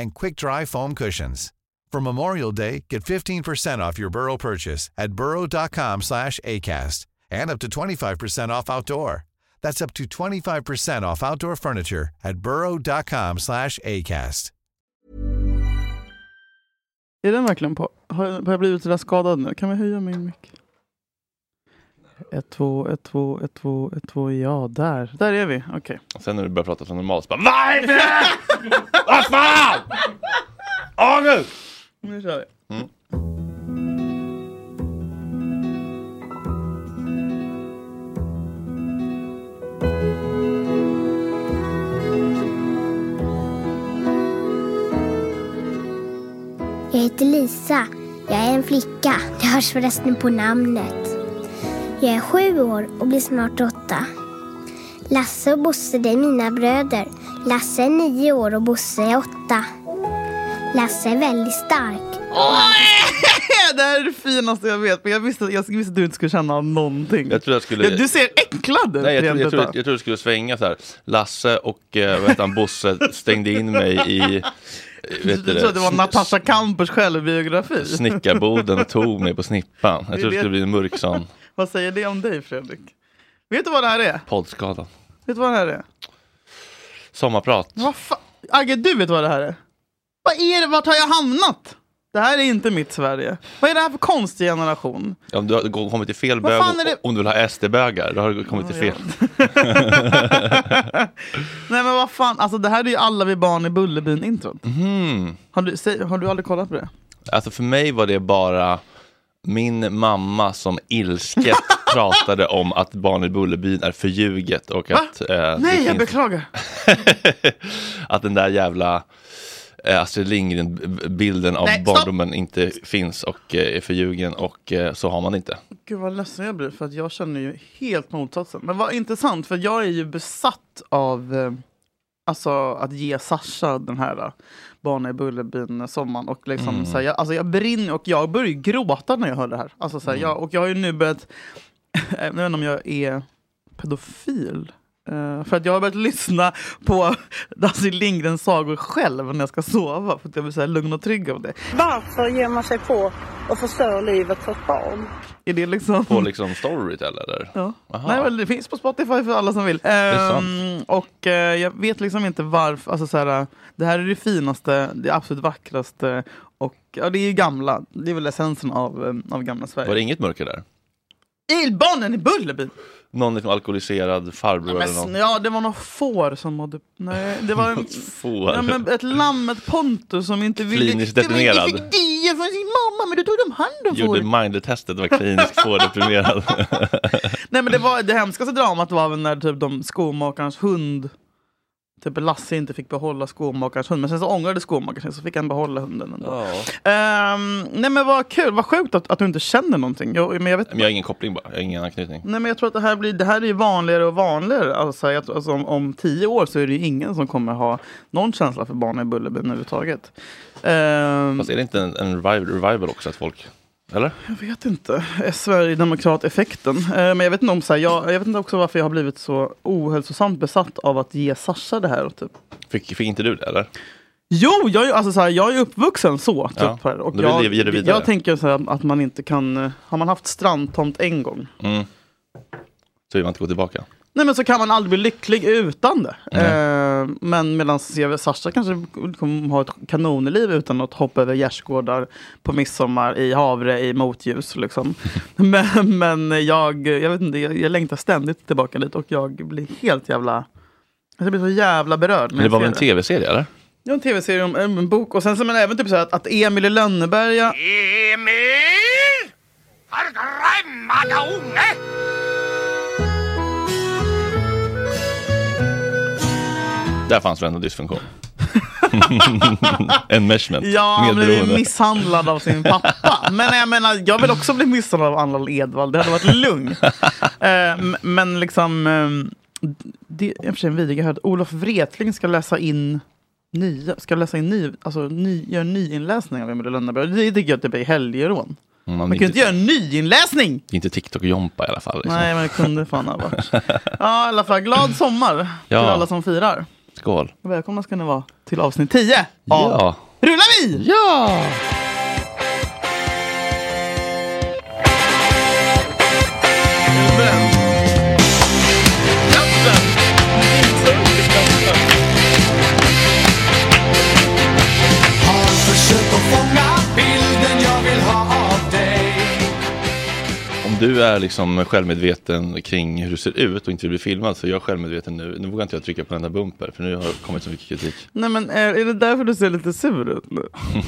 and quick-dry foam cushions. For Memorial Day, get 15% off your Burrow purchase at burrow.com/acast and up to 25% off outdoor. That's up to 25% off outdoor furniture at burrow.com/acast. Är den verkligen på? Har jag, har jag blivit sådär skadad nu? Kan vi höja min mick? Ett, två, ett, två, ett, två, ett, två, ja, där. Där är vi, okej. Och sen när du börjar prata som normalt så bara VARFÖR? Vad fan! Åh gud! Nu kör vi. Jag heter Lisa. Jag är en flicka. Det hörs förresten på namnet. Jag är sju år och blir snart åtta. Lasse och Bosse det är mina bröder. Lasse är nio år och Bosse är åtta. Lasse är väldigt stark. Det här är det finaste jag vet, men jag visste, jag visste att du inte skulle känna någonting. Jag trodde jag skulle... Du ser äcklad ut Nej, jag, trodde, jag, rent trodde, utav. jag trodde det skulle svänga så här. Lasse och eh, vad heter han, Bosse stängde in mig i eh, Du vet trodde att det var Natasha Kampers självbiografi. Snickarboden och tog mig på snippan. Jag trodde det skulle bli en mörkson. Vad säger det om dig Fredrik? Vet du vad det här är? Poddskadan. Vet du vad det här är? Sommarprat. Vad fan? Agge, du vet vad det här är? Vad är det? Vart har jag hamnat? Det här är inte mitt Sverige. Vad är det här för konstig generation? Ja, Om du har gå- kommit till fel Vad bög fan är det- och- om du vill ha SD-bögar, då har du kommit till fel. Nej men vad fan, alltså det här är ju alla vi barn i Bullerbyn-intron. Mm. Har, du, säg- har du aldrig kollat på det? Alltså för mig var det bara min mamma som ilsket pratade om att barn i Bullerbyn är förljuget och att, eh, det Nej, jag finns- beklagar. att den där jävla eh, Astrid Lindgren-bilden av Nej, stopp! barndomen inte finns och eh, är förljugen och eh, så har man inte. Gud vad ledsen jag blir för att jag känner ju helt motsatsen. Men vad intressant för jag är ju besatt av eh, alltså, att ge Sasha den här eh, Barnen i Bullerbyn sommaren. Och liksom, så här, jag, alltså, jag brinner och jag börjar ju gråta när jag hör det här. Alltså, så här jag, och jag har ju nu börjat, jag vet inte om jag är pedofil. Eh, för att jag har börjat lyssna på Astrid Lindgrens sagor själv när jag ska sova. För att jag blir så här lugn och trygg av det. Varför ger man sig på och förstör livet för ett barn? Är det liksom... På liksom Storytel eller? Ja. Aha. Nej, väl, det finns på Spotify för alla som vill. Ehm, sant. och eh, jag vet liksom inte varför. Alltså, så här, det här är det finaste, det absolut vackraste. Och, ja, det är ju gamla. Det är väl essensen av, eh, av gamla Sverige. Var det inget mörker där? Ilbarnen i Bullerbyn! Någon liksom alkoholiserad farbror Men eller någon? sn- Ja, det var något får som mådde... Nej, det var en, Får. ja, men ett lamm, ett Pontus som inte ville... Kliniskt som inte deprimerad. fick dia från sin mamma, men då tog de hand om Gjorde fåret. Minded-testet, var kliniskt fårdeprimerad. Nej men det, var, det hemskaste dramat var väl när typ de skomakarens hund Typ Lasse inte fick behålla skomakarens hund, men sen så ångrade skomakaren sig så fick han behålla hunden ändå. Ja. Ehm, nej men vad kul, vad sjukt att, att du inte känner någonting. Jag, men jag vet, Men jag har ingen koppling bara, jag har ingen anknytning. nej men jag tror att det här, blir, det här är ju vanligare och vanligare. Alltså, jag, tror- alltså, om, om tio år så är det ju ingen som kommer ha någon känsla för barn i Bullerbyn överhuvudtaget. Ehm, Fast är det inte en, en revival, revival också att folk, eller? Jag vet inte. Är Sverigedemokrat-effekten. Eh, Men jag vet, inte om, så här, jag, jag vet inte också varför jag har blivit så ohälsosamt besatt av att ge Sasha det här. Och typ. Fick, fick inte du det eller? Jo, jag, är ju- alltså, så här, jag är uppvuxen så. Typ, Ja. här. Och Då vill jag, du ge det vidare. jag tänker så här, att man inte kan... eh, Har man haft strandtomt en gång Mm. Så vill man inte gå tillbaka. Nej men så kan man aldrig bli lycklig utan det. Eh, men medan Sasha kanske kommer ha ett kanonliv utan att hoppa över gärdsgårdar på midsommar i havre i motljus. Liksom. men men jag, jag, vet inte, jag, jag längtar ständigt tillbaka dit och jag blir helt jävla... Jag blir så jävla berörd. när Men det jag var ser väl en tv-serie eller? Det var en tv-serie om en bok. Och sen så men även typ så här att, att Emil i Lönneberga... Emil! Förgrämmade unge! Där fanns väl ändå dysfunktion. Enmeshment. Ja, han blev Medberoende. misshandlad av sin pappa. Men jag menar, jag vill också bli misshandlad av Anna Edvald. Det hade varit lugnt. Eh, m- men liksom... ehm, det är i och för sig en vidrig jag hörde. Olof Wretling ska läsa in nya, ska läsa in ny, alltså ny, göra en nyinläsning av Emil i Lönneberga. Det tycker jag typ är helgerån. Mm, Man kan ju inte göra en nyinläsning! Det är inte TikTok-jompa i alla fall. Liksom. Nej, men det kunde fan ha varit. Ja, i alla fall. Glad sommar till Ja. alla som firar. Skål. Och Välkomna ska ni vara till avsnitt 10 av Ja. Rullar vi! Ja! Om du är liksom självmedveten kring hur du ser ut och inte vill bli filmad så är jag självmedveten nu. Nu vågar inte jag trycka på den där bumper för nu har det kommit så mycket kritik. Nej men eh, är, är det därför du ser lite sur ut nu?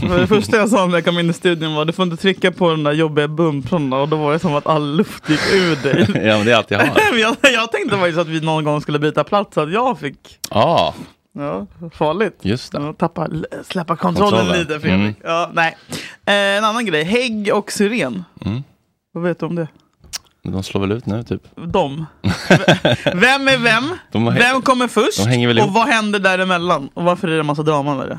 För det första jag sa när jag kom in i studion var du får inte trycka på de där jobbiga bumprarna och då var det som att all luft gick ur ja, dig. men det är allt jag har. Men jag, jag tänkte faktiskt att vi någon gång skulle byta plats så att jag fick, Ja, ja, farligt. just det. Ja, tappa, l- släppa kontrollen, Kontrollen. Mm. lite Fredrik. Ja, nej. Eh, en annan grej, hägg och syren. Mm. Vad vet du om det? De slår väl ut nu typ. Dem. V- vem är vem? De har- Vem kommer först? de hänger väl och ihop. vad händer däremellan? Och varför är det en massa drama med det?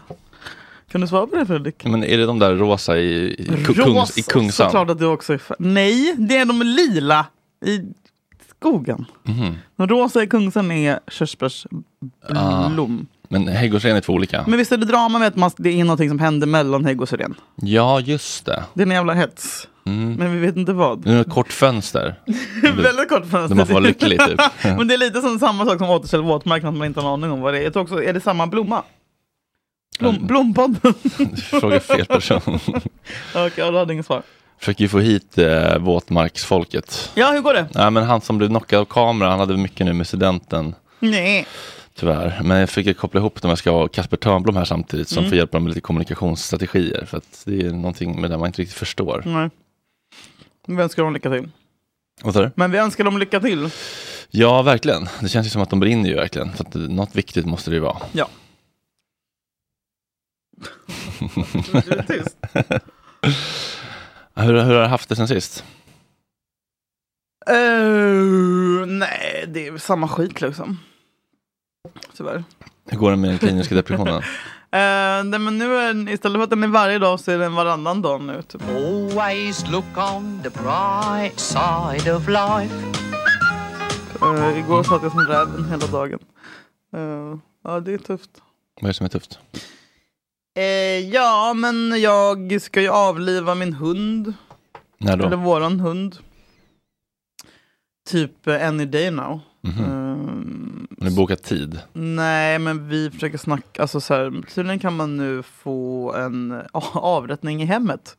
Kan du svara på det Fredrik? Men är det de där rosa i, i, Mm. kungs, i Kungsan? såklart att du också är fan. Nej, det är de lila i skogen. Mhm. De rosa i Kungsan är Ah. körsbärsblom. Men Häggårdsren är två olika. Men visst är det drama med att man, det är någonting som händer mellan hägg och syren? Ja, just det. Det är en jävla hets. Mm. Men vi vet inte vad. Nu är det ett kort fönster. Väldigt kort fönster. Där man får vara lycklig typ. Men det är lite som samma sak som återställ våtmarknaden, att man inte har en aning om vad det är. Jag tror också, är det samma blomma? Blom, blompodden? Du frågar fel person. Okej, ja, du hade inget svar. Försöker ju få hit eh, våtmarksfolket. Ja, hur går det? Nej, men han som blev knockad av kameran, han hade mycket nu med studenten. Nej. Tyvärr. Men jag försöker koppla ihop dem. Jag ska ha Kasper Törnblom här samtidigt Mm. som får hjälpa dem med lite kommunikationsstrategier. För att det är någonting med det man inte riktigt förstår. Nej. Vi önskar dem lycka till. Vad sa du? Men vi önskar dem lycka till. Ja, verkligen. Det känns ju som att de brinner ju verkligen. Så att eh, något viktigt måste det ju vara. Ja. Du är tyst. Hur, hur har du haft det sen sist? Eh, nej, det är samma skit liksom. Tyvärr. Hur går det med den kliniska depressionen? Eh, nej, men nu är den, istället för att den är varje dag så är den varannan dag nu. Typ. Always look on the bright side of life. Eh, igår satt jag som räven hela dagen. Eh, ja, det är tufft. Vad är det som är tufft? Eh, ja, men jag ska ju avliva min hund. När då? Eller våran hund. Typ eh, any day now. Mhm. Eh, Har du bokat tid? Nej, men vi försöker snacka. Alltså, så här, tydligen kan man nu få en eh, avrättning i hemmet.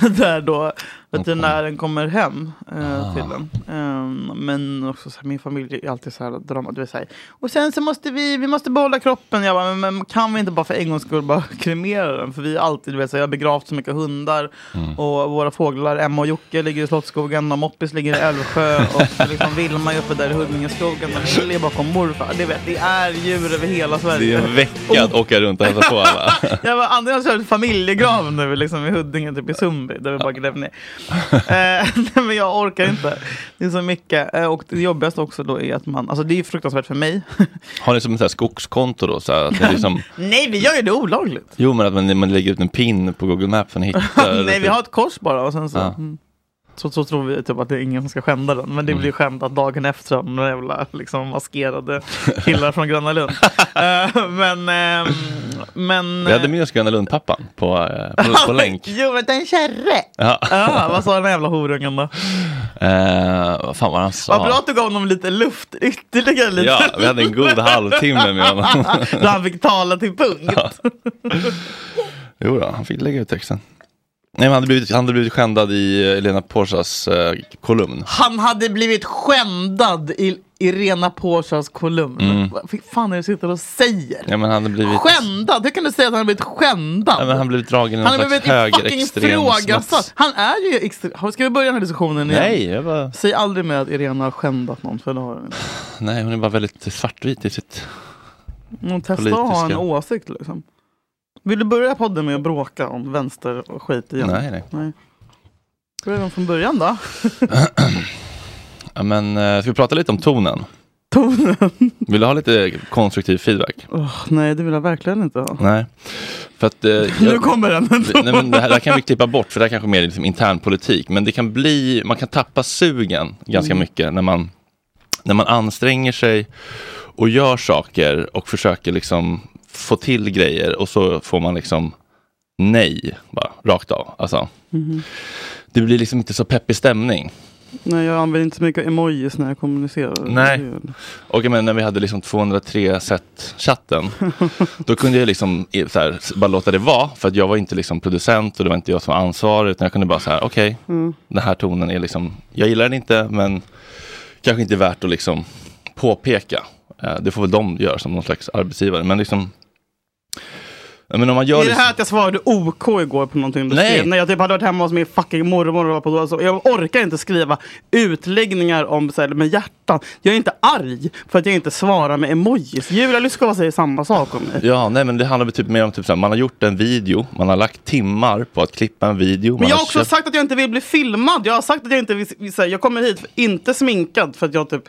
Där då veterinären kommer hem eh, Ah. till den. men också så här, min familj är alltid så här drama. Du vet, så här. Och sen så måste vi, vi måste behålla kroppen. Jag bara, men, men kan vi inte bara för en gångs skull bara kremera den? För vi är alltid, du vet, så här, jag har begravt så mycket hundar. Mm. Och våra fåglar, Emma och Jocke ligger i Slottsskogen. Och Moppis ligger i Älvsjö. Och liksom Vilma är uppe där i Huddingeskogen. Och Lille är bakom morfar. Det, vet, det är djur över hela Sverige. Det är en vecka att åka runt och hälsa på alla. Jag var antingen kört familjegrav nu liksom i Huddinge, typ i Sundby, där vi bara grävde ner. eh, nej, men jag orkar inte. Det är så mycket. Eh, och det jobbigaste också då är att man, alltså det är ju fruktansvärt för mig. Har ni som ett så här skogskonto då? Så här, att ni liksom, nej, vi gör ju det olagligt. jo, men att man, man lägger ut en pin på Google Maps för att hitta. nej, vi har ett kors bara och sen så. Ja. Mm. Så, så tror vi typ att det är ingen som ska skända den, Mm. men det blir skändat dagen efter av några jävla liksom, maskerade killar från Gröna Lund. Eh, men... ehm, men Vi hade med oss Gröna Lund-pappan på, eh, på, på länk. Jo, men den kärre! Ja. Ja, vad sa den här jävla horungen då? Eh, vad fan var han Vad bra sa? att du gav honom lite luft, ytterligare lite. Ja, vi hade en god halvtimme med honom. Då han fick tala till punkt. Jo då, han fick lägga ut texten. Nej, men han, hade blivit, han hade blivit skändad i eh, Elena Porsas eh, kolumn. Han hade blivit skändad i Irena Porschas kolumn. Mm. Vad fy fan är det du sitter och säger? Ja, men han hade blivit, Skändad? Hur kan du säga att han har blivit skändad? ja, men han blivit dragen i någon han har slags blivit fucking högerextrem ifrågasatt. snuts. Han är ju extre- Har- Ska vi börja den här diskussionen igen? Nej, jag bara, Säg aldrig mer att Irena har skändat någon, för det har hon inte. nej, hon är bara väldigt svartvit i sitt... Hon testar att ha Politiska. en åsikt liksom. Vill du börja podden med att bråka om vänster och skit igen? Nej, nej. Nej. Börja om från början då. Ja, men, eh, ska vi prata lite om tonen? Tonen. Vill du ha lite konstruktiv feedback? Åh, nej, det vill jag verkligen inte ha. Nej. För att, eh, Nu jag, kommer den. Vi- Alltså, Nej, men det, här, det här kan vi klippa bort, för det här kanske är mer liksom intern politik. Men det kan bli, man kan tappa sugen ganska mycket när man, när man anstränger sig och gör saker och försöker liksom få till grejer och så får man liksom nej, bara, rakt av. Alltså, Det blir liksom inte så peppig stämning. Nej, jag använder inte så mycket emojis när jag kommunicerar. Nej. Det är ju- Och jag menar, när vi hade liksom 203 sätt chatten, då kunde jag liksom eh, så här, bara låta det vara. För att jag var inte liksom producent och det var inte jag som var ansvarig. Utan jag kunde bara så här, okej, Mm. den här tonen är liksom, jag gillar den inte, men kanske inte värt att liksom påpeka. Eh, Det får väl de göra som någon slags arbetsgivare. Men liksom, Ja, men om man gör Är det liksom- här att jag svarade OK igår på någonting du Nej. skrev? När jag typ hade varit hemma hos min fucking mormor och var på alltså, Jag orkar inte skriva utläggningar om så här, med hjärtan. Jag är inte arg för att jag inte svarar med emojis. Julia Lyskova säger samma sak om mig. Ja, nej men det handlar väl typ mer om typ så här, man har gjort en video, man har lagt timmar på att klippa en video. man Men jag har har också köpt- sagt att jag inte vill bli filmad. Jag har sagt att jag inte vill, vill så här, jag kommer hit för, inte sminkad för att jag typ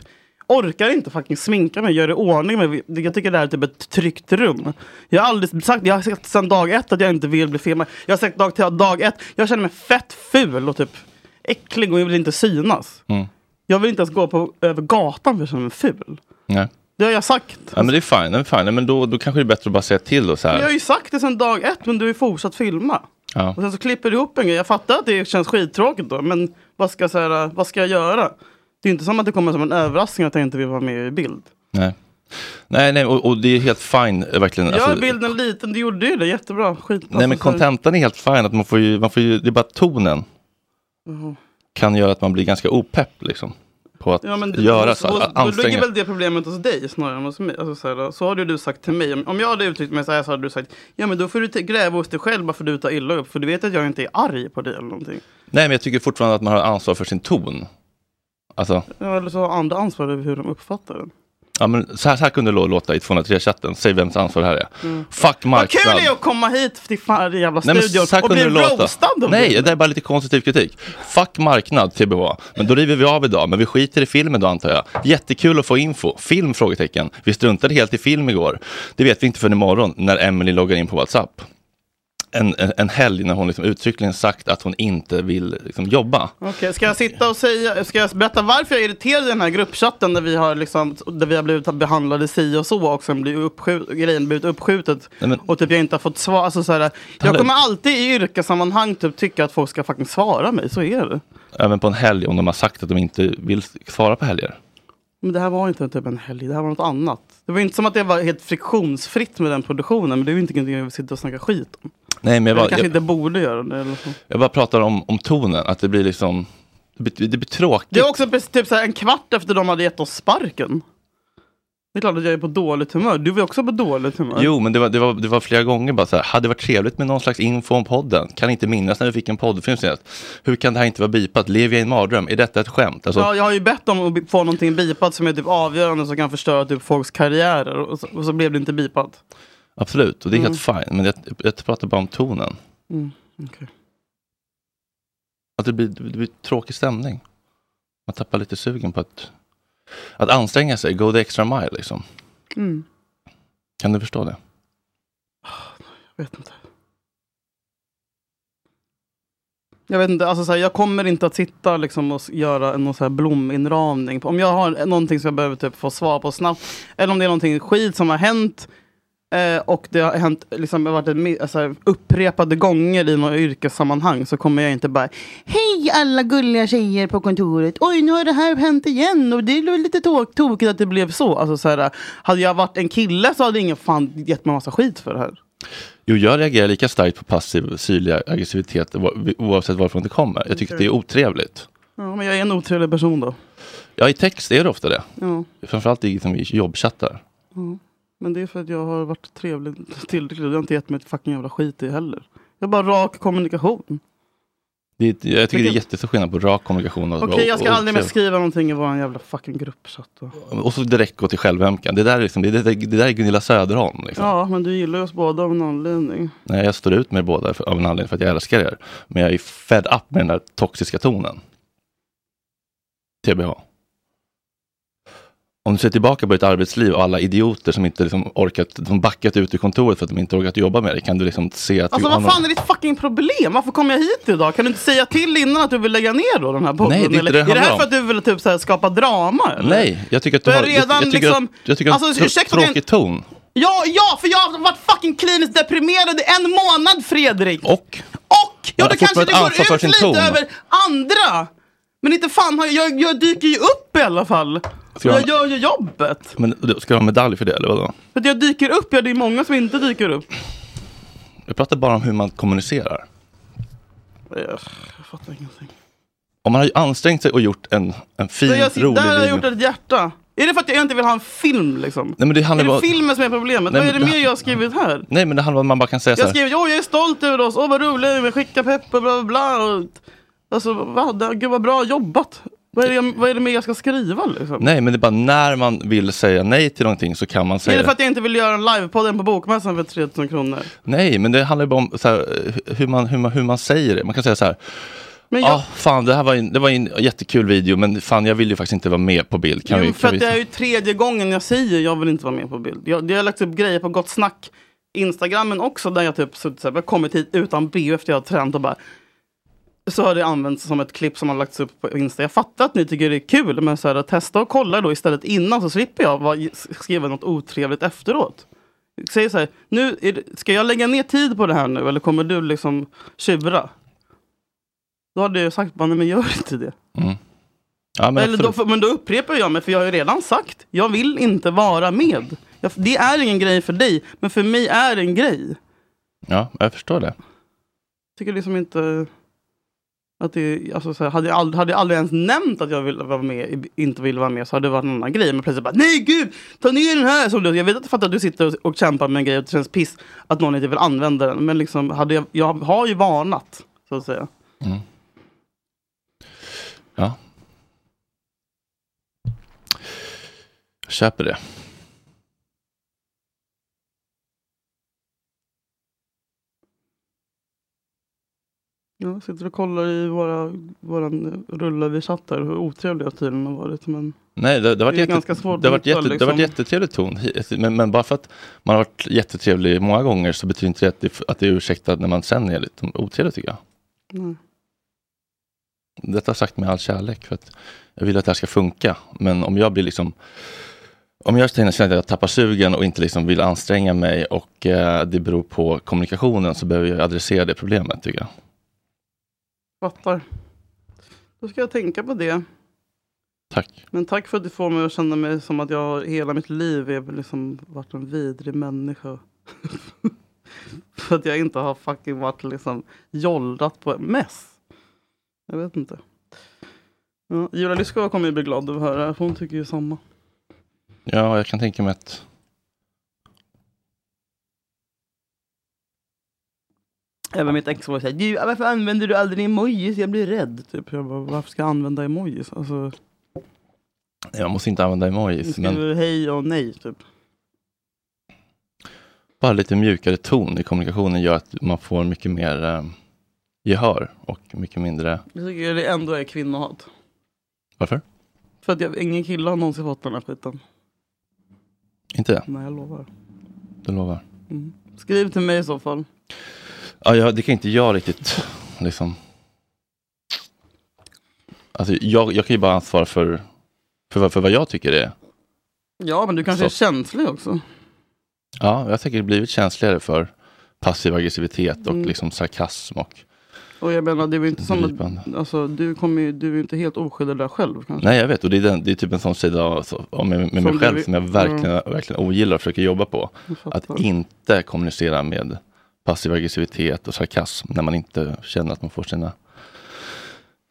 orkar inte fucking sminka mig, gör i ordning mig. Jag tycker det här är typ ett tryggt rum. Jag har aldrig sagt, jag har sagt sedan dag ett att jag inte vill bli filmad. Jag har sagt dag till dag ett, jag känner mig fett ful och typ äcklig och jag vill inte synas. Mm, Jag vill inte ens gå på, över gatan för jag känner mig ful. Nej. Det har jag sagt. Ja, men det är fine, det är fine. Nej, men då, då kanske det är bättre att bara säga till då så här. Jag har ju sagt det sedan dag ett men du har ju fortsatt filma. Ja. Och sen så klipper du ihop en grej. Jag fattar att det känns skittråkigt då, men vad ska, jag så här, vad ska jag göra? Det är inte som att det kommer som en överraskning att jag inte vill vara med i bild. Nej, nej, nej och, och det är helt fine eh, verkligen. Gör Alltså, bilden liten, du gjorde ju det jättebra. Skit, nej, men alltså, så här- kontentan är helt fine, att man får ju, man får ju, det är bara tonen kan göra att man blir ganska opepp liksom. På att Ja, men göra hos- så, hos- här, Då ligger anstränga. väl det problemet hos dig snarare än hos mig. Alltså, så, här, så har ju du sagt till mig. Om- Om jag hade uttryckt mig så här så hade du sagt ja men då får du t- gräva hos dig själv bara för du tar illa upp. För du vet att jag inte är arg på dig eller någonting. Nej, men jag tycker fortfarande att man har ansvar för sin ton. Alltså, Ja, Eller så har andra ansvar över hur de uppfattar den. ja, men så, här, så här kunde det lå- låta i 203-chatten. Säg vems ansvar det här är. Fuck Mm. Vad kul marknad. det är att komma hit till fan, den jävla Nej, men studion så här och kunde bli det låta. roastad av Nej, dig. det är bara lite konstruktiv kritik. Fuck marknad, TBH. Men då river vi av idag, men vi skiter i filmen då antar jag. Jättekul att få info. Film? frågetecken. Vi struntade helt i film igår. Det vet vi inte förrän imorgon när Emily loggar in på WhatsApp. En, en, en helg när hon liksom uttryckligen sagt att hon inte vill liksom jobba. Okej, ska jag sitta och säga, ska jag berätta varför jag är irriterad i den här gruppchatten där vi har, liksom, där vi har blivit behandlade si och så och sen blir uppskjut, grejen blivit uppskjutet Nej, men- och typ jag inte har fått svar. Alltså, så här, jag Hallå. kommer alltid i yrkessammanhang typ, tycka att folk ska fucking svara mig, så är det. Även på en helg om de har sagt att de inte vill svara på helger. Men det här var inte typ en helg, det här var något annat. Det var inte som att det var helt friktionsfritt med den produktionen, men det är ju inte någonting jag vill sitta och snacka skit om. Nej, men jag Jag bara, kanske jag, inte borde göra det. Eller så. jag bara pratar om, om tonen, att det blir liksom... Det blir, det blir tråkigt. Det är också precis typ så här, en kvart efter de hade gett oss sparken. Det är klart att jag är på dåligt humör. Du var också på dåligt humör. Jo, men det var, det, var, det var flera gånger bara så här, hade det varit trevligt med någon slags info om podden? Kan inte minnas när vi fick en poddfilm senast. Hur kan det här inte vara bipat? Lever jag i en mardröm? Är detta ett skämt? Alltså, Ja, jag har ju bett om att bi- få någonting bipat som är typ avgörande som kan förstöra typ folks karriärer och så, och så blev det inte bipat. Absolut, och det är helt fine, men jag, jag pratar bara om tonen. Mm. okej. Att det blir, det blir tråkig stämning. Man tappar lite sugen på att, att anstränga sig, go the extra mile liksom. Kan du förstå det? Jag vet inte. Jag vet inte, alltså så här, jag kommer inte att sitta liksom och s- göra en någon så här blominramning. Om jag har någonting som jag behöver typ få svar på snabbt, eller om det är någonting skit som har hänt, eh, och det har hänt liksom, det har varit en, mi- alltså, här, upprepade gånger i några yrkessammanhang, så kommer jag inte bara Hej alla gulliga tjejer på kontoret, oj nu har det här hänt igen, och det är väl lite tok- tokigt att det blev så. Alltså, så här, hade jag varit en kille så hade ingen fan gett mig massa skit för det här. Jo, jag reagerar lika starkt på passiv syrlig aggressivitet oa- oavsett varifrån det kommer. Jag tycker att det är otrevligt. Ja, men jag är en otrevlig person då. Ja, i text är det ofta det. Ja, Framförallt i liksom, i jobbchattar. men det är för att jag har varit trevlig tillräckligt. Du har inte gett mig ett fucking jävla skit i heller. Jag har bara rak kommunikation. Det, är- jag tycker det är Vilken- jättestor skillnad på rak kommunikation och Okej, jag ska och- och aldrig mer otrevligt. skriva någonting i vår jävla fucking gruppchatt. då. Och så direkt gå till självömkan. Det där, är liksom, det, det, det där är Gunilla Söderholm. Liksom. Ja, men du gillar ju oss båda av en anledning. Nej, jag står ut med er båda för, av en anledning för att jag älskar er. Men jag är fed up med den där toxiska tonen. TBH. Om du ser tillbaka på ditt arbetsliv och alla idioter som inte liksom orkat, som backat ut ur kontoret för att de inte orkat jobba med dig. Kan du liksom se att Alltså du har vad fan någon- är ditt fucking problem? Varför kom jag hit idag? Kan du inte säga till innan att du vill lägga ner då den här podden? Nej, det är inte Eller- det det är det här handlar om. för att du vill typ så här, skapa drama? Eller? Nej, jag tycker att du Du är har... jag- redan jag, tycker liksom- att, jag tycker att Alltså, tr- ursäkta, tråkig men- ton. Ja, ja, för jag har varit fucking kliniskt deprimerad i en månad Fredrik! Och? Och ja, Man då har kanske fortfarande det ett går ansvar för ut sin lite ton. över andra. Men inte fan, har jag, jag, jag dyker ju upp i alla fall. Ska jag- Jag gör ju jobbet. Men du ska du ha medalj för det eller vadå? För att jag dyker upp, ja det är många som inte dyker upp. Jag pratar bara om hur man kommunicerar. Jag fattar ingenting. Om man har ansträngt sig och gjort en, en fin, Så jag, sitter- rolig där har jag gjort video. ett hjärta. Är det för att jag inte vill ha en film liksom? Nej men det handlar är bara... det filmen som är problemet? Nej, Vad är men det det- mer jag har skrivit här? Nej men det handlar om att man bara kan säga Jag så här. skrev åh jag är stolt över oss, åh vad roliga vi är, skicka pepp och bla bla bla. Och, alltså va, det, gud vad bra jobbat. Vad är, det, jag- vad är det mer jag ska skriva liksom? Nej men det är bara när man vill säga nej till någonting så kan man är säga det för att jag inte vill göra en livepodden på Bokmässan för 3000 kronor? Nej men det handlar ju bara om så här, eh, hur, man, hur, man, hur man säger det. Man kan säga så här. Men Ja jag, ah, fan det här var en, det var en jättekul video men fan jag vill ju faktiskt inte vara med på bild. Kan jo, vi, för kan att vi... det är ju tredje gången jag säger jag vill inte vara med på bild. Jag, jag har lagt upp grejer på Gott Snack, Instagrammen också, där jag typ suttit så här, jag har kommit hit utan bio efter jag har tränat och bara så har det använts som ett klipp som har lagts upp på Insta. Jag fattar att ni tycker det är kul, men så här, testa och kolla då istället innan så slipper jag vara, skriva något otrevligt efteråt. Säg så här, nu är det, ska jag lägga ner tid på det här nu eller kommer du liksom tjura? Då hade jag ju sagt, bara, nej men gör inte det. Ja, men Eller då, absolut. för, men då upprepar jag mig, för jag har ju redan sagt, jag vill inte vara med. Jag, det är ingen grej för dig, men för mig är det en grej. ja, jag förstår det. Tycker liksom inte att det, alltså så här, hade, jag aldrig, hade jag aldrig ens nämnt att jag ville vara med, inte ville vara med så hade det varit en annan grej. Men plötsligt bara, nej gud, ta ner den här! Så du- jag vet att jag fattar att du sitter och, och kämpar med en grej och det känns piss att någon inte vill använda den. Men liksom, hade jag, jag har ju varnat, så att säga. Mm. Ja. Jag köper det. Jag sitter och kollar i våra, våran rulla vi satt där hur otrevliga tydligen har varit. Men... Nej, det, det, har varit Det är jätte, ganska svårt det, har att varit hitta, jätte, det har varit liksom. jättetrevlig ton. hit, Men, men bara för att man har varit jättetrevlig många gånger så betyder inte det att det, att det är ursäktat när man sen är lite otrevlig tycker jag. Nej. Detta sagt med all kärlek för att jag vill att det här ska funka. Men om jag blir liksom om jag känner att jag tappar sugen och inte liksom vill anstränga mig och eh, det beror på kommunikationen så behöver jag adressera det problemet tycker jag. Fattar. Då ska jag tänka på det. Tack. Men tack för att du får mig att känna mig som att jag hela mitt liv är liksom varit en vidrig människa. för att jag inte har fucking varit liksom jollrat på mess. Jag vet inte. Ja, Julia Lyskova kommer ju bli glad över att höra det här, för hon tycker ju samma. Ja, jag kan tänka mig att Även mitt ex var såhär, du varför använder du aldrig emojis? Jag blir rädd. Typ. Jag bara, varför ska jag använda emojis? Alltså, nej, man måste inte använda du emojis men skriver hej och nej typ. bara lite mjukare ton i kommunikationen gör att man får mycket mer eh, gehör och mycket mindre... Jag tycker det ändå är kvinnohat. Varför? För att jag, ingen kille har någonsin fått den här skiten. Inte det, Nej, jag lovar. du lovar. Skriv till mig i så fall. Ja, ja, det kan inte jag riktigt liksom. Alltså, jag, jag kan ju bara ansvara för, för, vad- för vad jag tycker det är. Ja, men du kanske Så. är känslig också. Ja, jag har säkert blivit känsligare för passiv aggressivitet och liksom sarkasm och Och jag menar, det är väl inte som att, Gripande. alltså, du, kommer ju, du är ju inte helt oskyldig där själv kanske. Nej jag vet och det är, den, det är typ en sån sida av, så- av mig, med Som mig du själv vill- som jag verkligen, verkligen ogillar och försöker jobba på. Att fattar. inte kommunicera med passiv aggressivitet och sarkasm när man inte känner att man får sina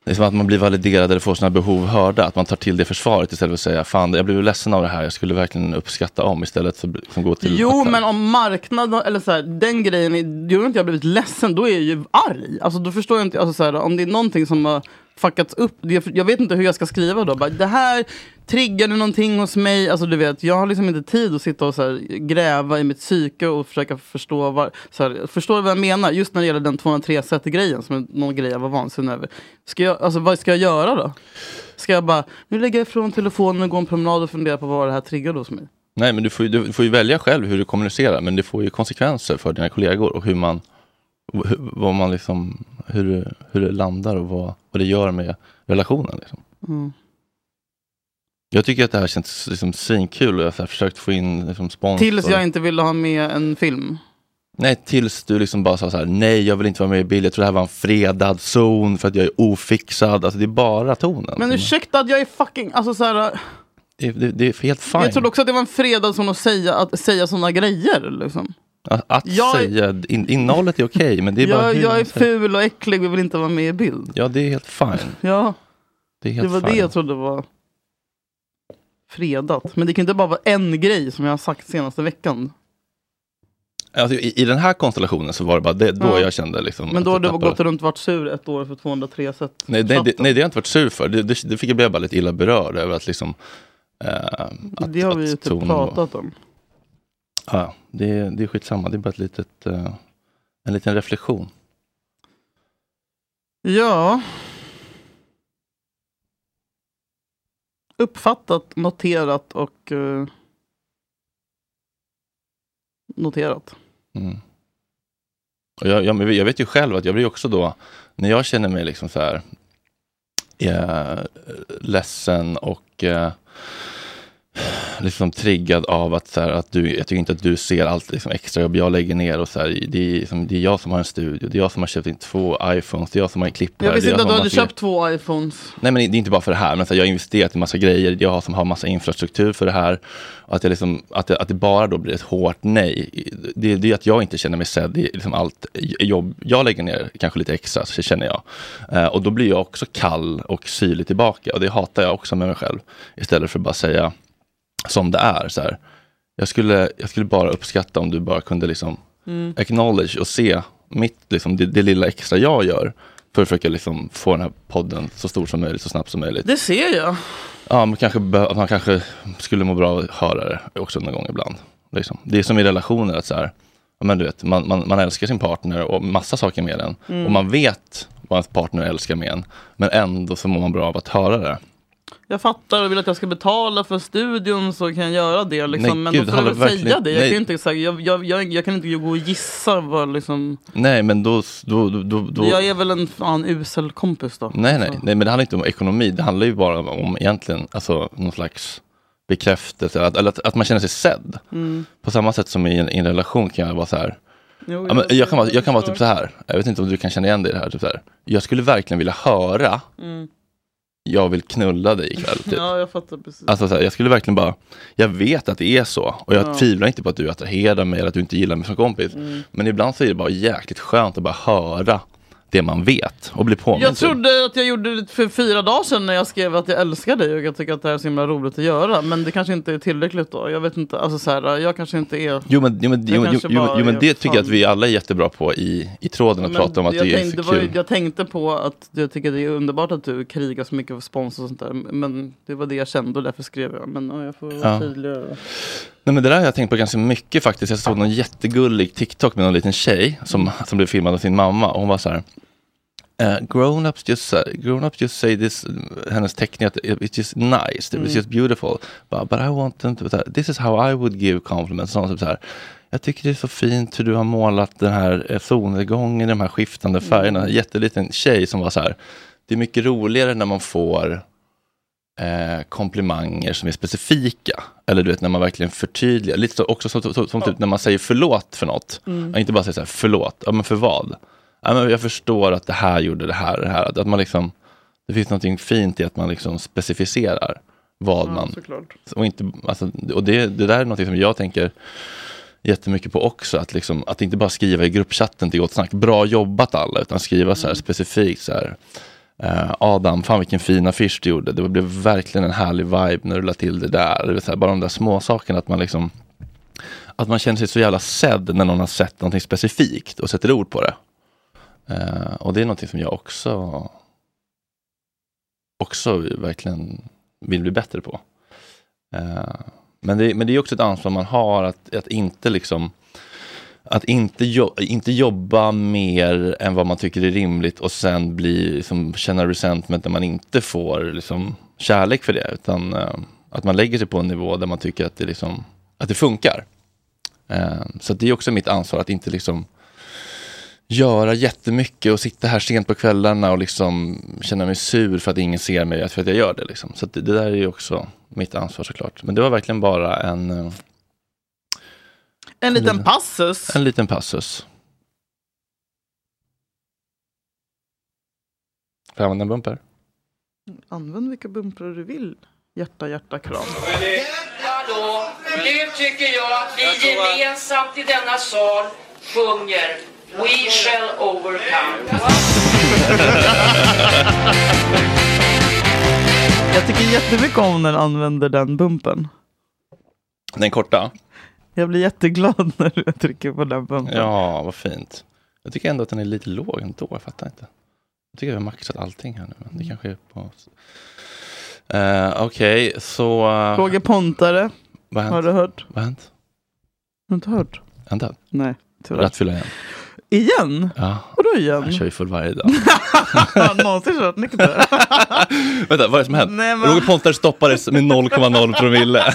det är som att man blir validerad eller får sina behov hörda. Att man tar till det försvaret istället för att säga fan jag blev ledsen av det här. Jag skulle verkligen uppskatta om istället för att liksom gå till Jo, att, men om marknaden, eller så här, den grejen, är- gör inte jag blivit ledsen, då är jag ju arg. Alltså då förstår jag inte, alltså, så här, om det är någonting som har fuckats upp, det, jag vet inte hur jag ska skriva då. Bara, det här triggade någonting hos mig, alltså du vet, jag har liksom inte tid att sitta och så här, gräva i mitt psyke och försöka förstå vad, så här, förstår du vad jag menar? Just när det gäller den 203 grejen som är någon grej jag var vansinnig över. Ska jag, alltså, vad ska jag göra då? Ska jag bara, nu lägger jag ifrån telefonen och går en promenad och funderar på vad det här triggade hos mig? Nej men du får, ju, du får ju välja själv hur du kommunicerar. Men det får ju konsekvenser för dina kollegor och hur man, hur, vad man liksom, hur, hur det landar och vad, vad det gör med relationen. Liksom. Mm. Jag tycker att det här känns liksom svinkul och jag har så här försökt få in liksom spons. Tills och- jag inte ville ha med en film. Nej, tills du liksom bara sa så här, nej jag vill inte vara med i bild, jag tror det här var en fredad zon för att jag är ofixad. Alltså det är bara tonen. Men ursäkta att jag är fucking... Alltså så här, det, det, det är helt fine. jag trodde också att det var en fredag som att säga, att säga såna grejer. Liksom. Att, att Jag- säga, in, innehållet är okej, men det är bara Jag, hur jag man är säger. ful och äcklig och vill inte vara med i bild. Ja, det är helt fine. Ja, Det, är det helt var det fine. jag trodde var fredat. Men det kan inte bara vara en grej som jag har sagt senaste veckan. Alltså, i, I den här konstellationen så var det bara det, då Ja. jag kände liksom. Men då att har jag du tappade- gått runt och varit sur ett år för 203 sätt. Nej, nej, det, nej, det har jag inte varit sur för. Det, det, det fick jag bli bara lite illa berörd över att liksom. eh, att, det har vi att ju typ tonen var- pratat om. Ja, det, det är skitsamma. Det är bara ett litet, eh, en liten reflektion. Ja. Uppfattat, noterat och eh, noterat. Mm. Och jag, jag, men jag vet ju själv att jag blir också då, när jag känner mig liksom så här eh, ledsen och eh, liksom triggad av att, så här, att du, jag tycker inte att du ser allt liksom extra jobb jag lägger ner och så här, det, är, liksom, det är jag som har en studio, det är jag som har köpt in två iPhones, det är jag som har en klippare. Jag det visste är inte som att du har hade massa grejer. köpt två iPhones. Nej men det är inte bara för det här, men så här, jag har investerat i massa grejer, jag har, som har massa infrastruktur för det här. Och att, jag liksom, att, det, att det bara då blir ett hårt nej, det, det är att jag inte känner mig sedd i liksom allt jobb jag lägger ner, kanske lite extra, så känner jag. Eh, och då blir jag också kall och syrlig tillbaka och det hatar jag också med mig själv. Istället för att bara säga som det är, så här. Jag skulle, jag skulle bara uppskatta om du bara kunde liksom Mm. acknowledge och se mitt, liksom, det, det lilla extra jag gör för att försöka liksom få den här podden så stor som möjligt, så snabbt som möjligt. Det ser jag. Ja, men kanske, be- att man kanske skulle må bra av att höra det också någon gång ibland. Liksom. Det är som i relationer, att så här, ja, men du vet, man, man, man älskar sin partner och massa saker med den. Mm. Och man vet vad ens partner älskar med en, men ändå så mår man bra av att höra det. Jag fattar och vill att jag ska betala för studion så kan jag göra det. Liksom. Nej, Men gud, då får du väl hallå, verkligen- säga det. Jag kan, nej. inte, så här, jag, jag, jag, jag kan inte gå och gissa. Vad, liksom. Nej, men då... då, då, då, då Jag är väl en fan usel kompis då. Nej, nej, Alltså. nej, men det handlar inte om ekonomi. Det handlar ju bara om egentligen alltså, någon slags bekräftelse, att, eller att, att man känner sig sedd. Mm. På samma sätt som i en, i en relation kan jag vara så här. Jo, Ja, men jag, kan vara, jag kan vara typ så här, jag vet inte om du kan känna igen dig i det här, typ så här. Jag skulle verkligen vilja höra, jag vill knulla dig ikväll. Typ. Mm. Ja, jag fattar precis. Alltså, så här, jag skulle verkligen bara, jag vet att det är så och jag tvivlar inte på att du attraherar mig eller att du inte gillar mig som kompis. Mm. Men ibland så är det bara jäkligt skönt att bara höra det man vet och bli påmind. Jag typ. trodde att jag gjorde det för fyra dagar sedan när jag skrev att jag älskar dig och jag tycker att det här är så himla roligt att göra. Men det kanske inte är tillräckligt då. Jag vet inte, alltså så här, jag kanske inte är... Jo men, jo, men, Det jo, jo, kanske jo, bara jo, men är det tycker jag att fan. vi alla är jättebra på i, i tråden att prata om att jag, det är så tänkte, var ju- kul. jag tänkte på att jag tycker det är underbart att du krigar så mycket för spons och sånt där. Men det var det jag kände och därför skrev jag. Men ja, jag får vara Ja. tydligare. Nej, men det där har jag tänkt på ganska mycket faktiskt. Jag såg någon jättegullig TikTok med någon liten tjej som, som blev filmad av sin mamma. Och hon var så här, eh, grown-ups just, grown ups just say this, hennes teckning, att it's just nice, it's just beautiful. But, but I want them to, this is how I would give compliments. Någon som så här, jag tycker det är så fint hur du har målat den här eh, solnedgången, de här skiftande färgerna. En jätteliten tjej som var så här, det är mycket roligare när man får eh, komplimanger som är specifika. Eller du vet när man verkligen förtydligar. Lite så, också som, som, som typ när man säger förlåt för något. Ja, Inte bara säga så här, förlåt, ja, men för vad? ja, men jag förstår att det här gjorde det här och det här. Att- Att man liksom, det finns någonting fint i att man liksom specificerar vad man... såklart. Och, inte, alltså, och det, det där är någonting som jag tänker jättemycket på också. Att, liksom, att inte bara skriva i gruppchatten till Gott Snack, bra jobbat alla, utan skriva så här specifikt så här. eh, Adam, fan vilken fin affisch du gjorde. Det blev verkligen en härlig vibe när du la till det där. Det vill säga, bara de där små sakerna att man liksom att man känner sig så jävla sedd när någon har sett någonting specifikt och sätter ord på det. Eh, och det är någonting som jag också också verkligen vill bli bättre på. Eh, men, det, men det är också ett ansvar man har att, att inte liksom att inte, jo, inte jobba mer än vad man tycker är rimligt och sen bli, liksom, känna resentment när man inte får liksom, kärlek för det. Utan eh, att man lägger sig på en nivå där man tycker att det, liksom, att det funkar. Eh, Så att det är också mitt ansvar att inte liksom göra jättemycket och sitta här sent på kvällarna och liksom känna mig sur för att ingen ser mig, för att jag gör det. Liksom. Så att det, det där är ju också mitt ansvar såklart. Men det var verkligen bara en, eh, En liten passus. en liten passus. Får jag använda en bumper? Använd vilka bumprar du vill. Hjärta, hjärta, kram. Hallå, nu tycker jag att vi gemensamt i denna sal sjunger We shall overcome. Jag tycker jättemycket om när du använder den bumpen. Den korta? Jag blir jätteglad när du trycker på den Mm. bumpen. Ja, vad fint. Jag tycker ändå att den är lite låg ändå, jag fattar inte. Jag tycker vi har maxat allting här nu, men det kanske är på oss. Eh, Okej, så... eh, Roger Pontare, vad har har hänt? du hört? Vad har hänt? Har du inte hört? Är han död? Nej, tyvärr. Rattfylla igen? Igen? Ja, Vadå igen? han kör ju full varje dag. Har han någonsin kört nykter? Vänta, vad är det som har hänt? Nej, men- Roger Pontare stoppades med 0,0 promille.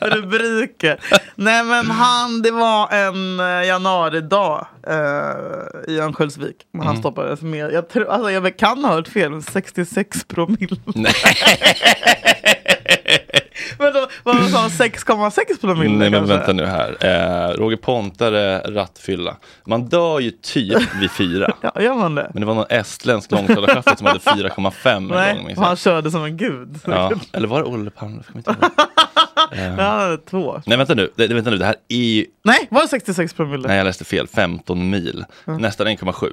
Rubriker. Nej men han, det var en eh, januaridag eh, i Örnsköldsvik. Men Mm. han stoppades med, jag, tror, alltså, jag kan ha hört fel, men 66 promille. Nej. Men då, vad sa han, 6,6 promille Nej, men kanske? vänta nu här. Eh, Roger Pontare, rattfylla. Man dör ju typ vid fyra. Ja, gör man det? Men det var någon estländsk långtradarchaufför som hade 4,5 en gång. Nej, minns och han jag. körde som en gud. Ja. Eller var det Olle Palme? Jag kommer inte ihåg. Eh, Han hade två. Nej, vänta nu. Det, vänta nu. Det här är ju... Nej, var det 66 promille? Nej, jag läste fel. 15 mil. Nästan 1,7.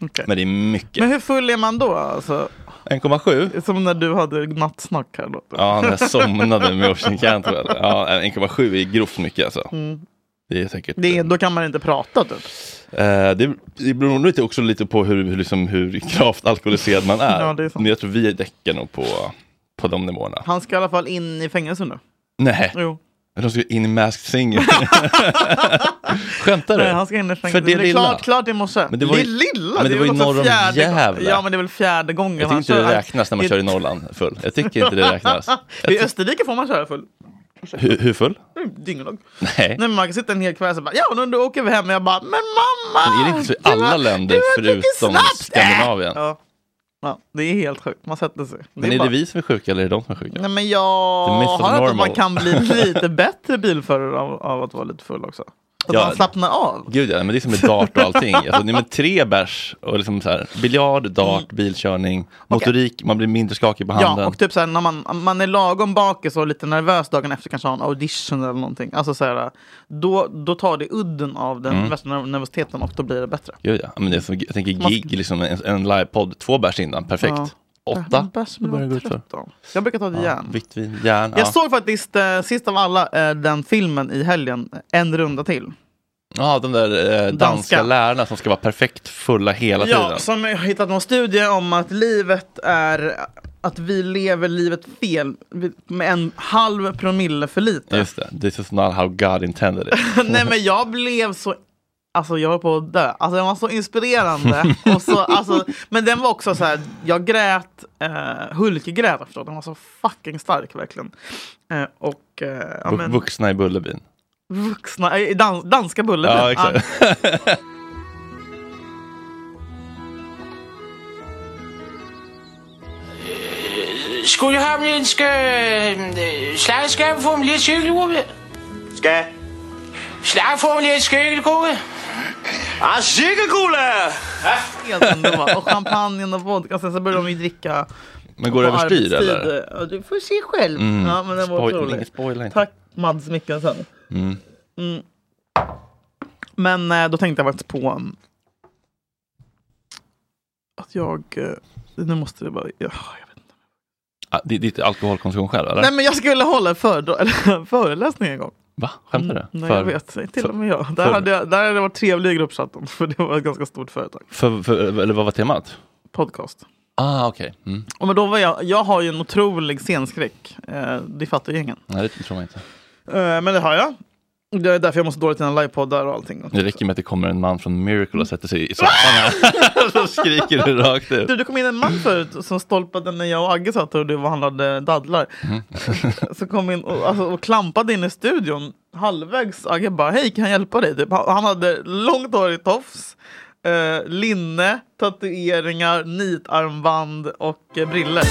Okej. Men det är mycket. Men hur full är man då? Alltså, 1,7? som när du hade nattsnack här. Då. Ja, när jag somnade med Ocean Cantwell. Ja, 1,7 är grovt mycket alltså. Det är säkert... Mm. Det är, då kan man inte prata typ. Eh, det, det beror nog lite också lite på hur, hur, liksom, hur gravt alkoholiserad man är. Ja, det är sant. Men jag tror vi däckar nog på, på de nivåerna. Han ska i alla fall in i fängelse nu. Nej, Jo. de ska in i Masked Singer. Skämtar du? Nej, han ska in i fängelse. För det är lilla. Klart, klart i morse. Men det var ju- lilla? men det var ju också norr om fjärde gång- Gävle. Ja, men det är väl fjärde gången jag tycker inte kör. det räknas när man I- kör i Norrland full. Jag tycker inte det räknas. Jag I ty- Österrike får man köra full. hur, hur full? Dynglag. Nej. Nej, men man kan sitta en hel kväll och bara ja, nu åker vi hem. Och jag bara, men mamma! Men är det inte så i du har- alla länder du har druckit förutom snaps! Skandinavien? Ja. ja, det är helt sjukt. Man sätter sig. Men är bara- det vi som är sjuka eller är det de som är sjuka? Nej men jag The myth of har hört att man normal. kan bli lite bättre bilförare av, av att vara lite full också. Att Ja. man slappnar av. Gud ja, men det är som med dart och allting. Alltså, nej, men tre bärs och liksom så här, biljard, dart, bilkörning, motorik, man blir mindre skakig på handen. Mm. Ja, och typ såhär när man, man är lagom bakis och lite nervös dagen efter, kanske har en audition eller någonting. Alltså såhär, då, då tar det udden av den Mm. värsta nerv- nervositeten och då blir det bättre. Gud ja, men det är som, jag tänker gig, liksom en, en livepodd, två bärs innan, perfekt. Ja. Åtta, Bärs då börjar det gå utför. tretton. Jag brukar ta det Ja, järn. vitt vin, järn, Jag ja. såg faktiskt eh, sist av alla eh, den filmen i helgen, eh, En runda till. ja, de där eh, danska, Danska. lärarna som ska vara perfekt fulla hela Ja, tiden. som har hittat någon studie om att livet är att vi lever livet fel vi- med en halv promille för lite. Just det, this is not how God intended it. Nej men jag blev så Alltså jag höll på att dö. Alltså den var så inspirerande. Och så, alltså, men den var också så här, jag grät, eh, Hulk-grät efteråt. Den var så fucking stark verkligen. Eh, och eh, ja, Vu- men, Vuxna i Bullerbyn. vuxna, eh, dans, danska Bullerbyn. Ja, exakt. Skulle du ha en eh, slagskärm för en liten cykel, Ove? Ska? Slag för en liten cykel, gode. Han kule! Helt underbart. Och champagnen och vodka. Sen så började de ju dricka. Men går på det överstyr arbetstid. eller? Ja, du får se själv. Mm. Ja, men den var Spoil- otrolig. ingen spoiler inte. Tack Mads Mikkelsen. Mm. Mm. Men eh, då tänkte jag faktiskt på um, att jag... eh, Nu måste det bara... Ja, jag vet. Ah, di- Ditt alkoholkonsumtion själv eller? Nej men jag skulle hålla en föredra- eller en föreläsning en gång. Va? Skämtar du? Mm, Nej, för, jag vet. Till för- och med jag. Där, för- hade jag, där hade det varit trevlig gruppchatten. För det var ett ganska stort företag. För, för, eller vad var temat? Podcast. Ah, okej. Mm. Och men då var jag, jag har ju en otrolig scenskräck. Eh, det fattar ju ingen. Nej, det tror man inte. Eh, men det har jag. Det är därför jag måste dåligt innan livepoddar och allting. Det räcker med att det kommer en man från Miracle och sätter sig i soffan här. Så skriker du rakt ut. Du, det kom in en man förut som stolpade när jag och Agge satt och du handlade dadlar. Så kom in och, alltså, och klampade in i studion halvvägs. Agge bara, hej kan jag hjälpa dig? Typ. Han han hade långt hår i tofs, eh, linne, tatueringar, nitarmband och eh, briller.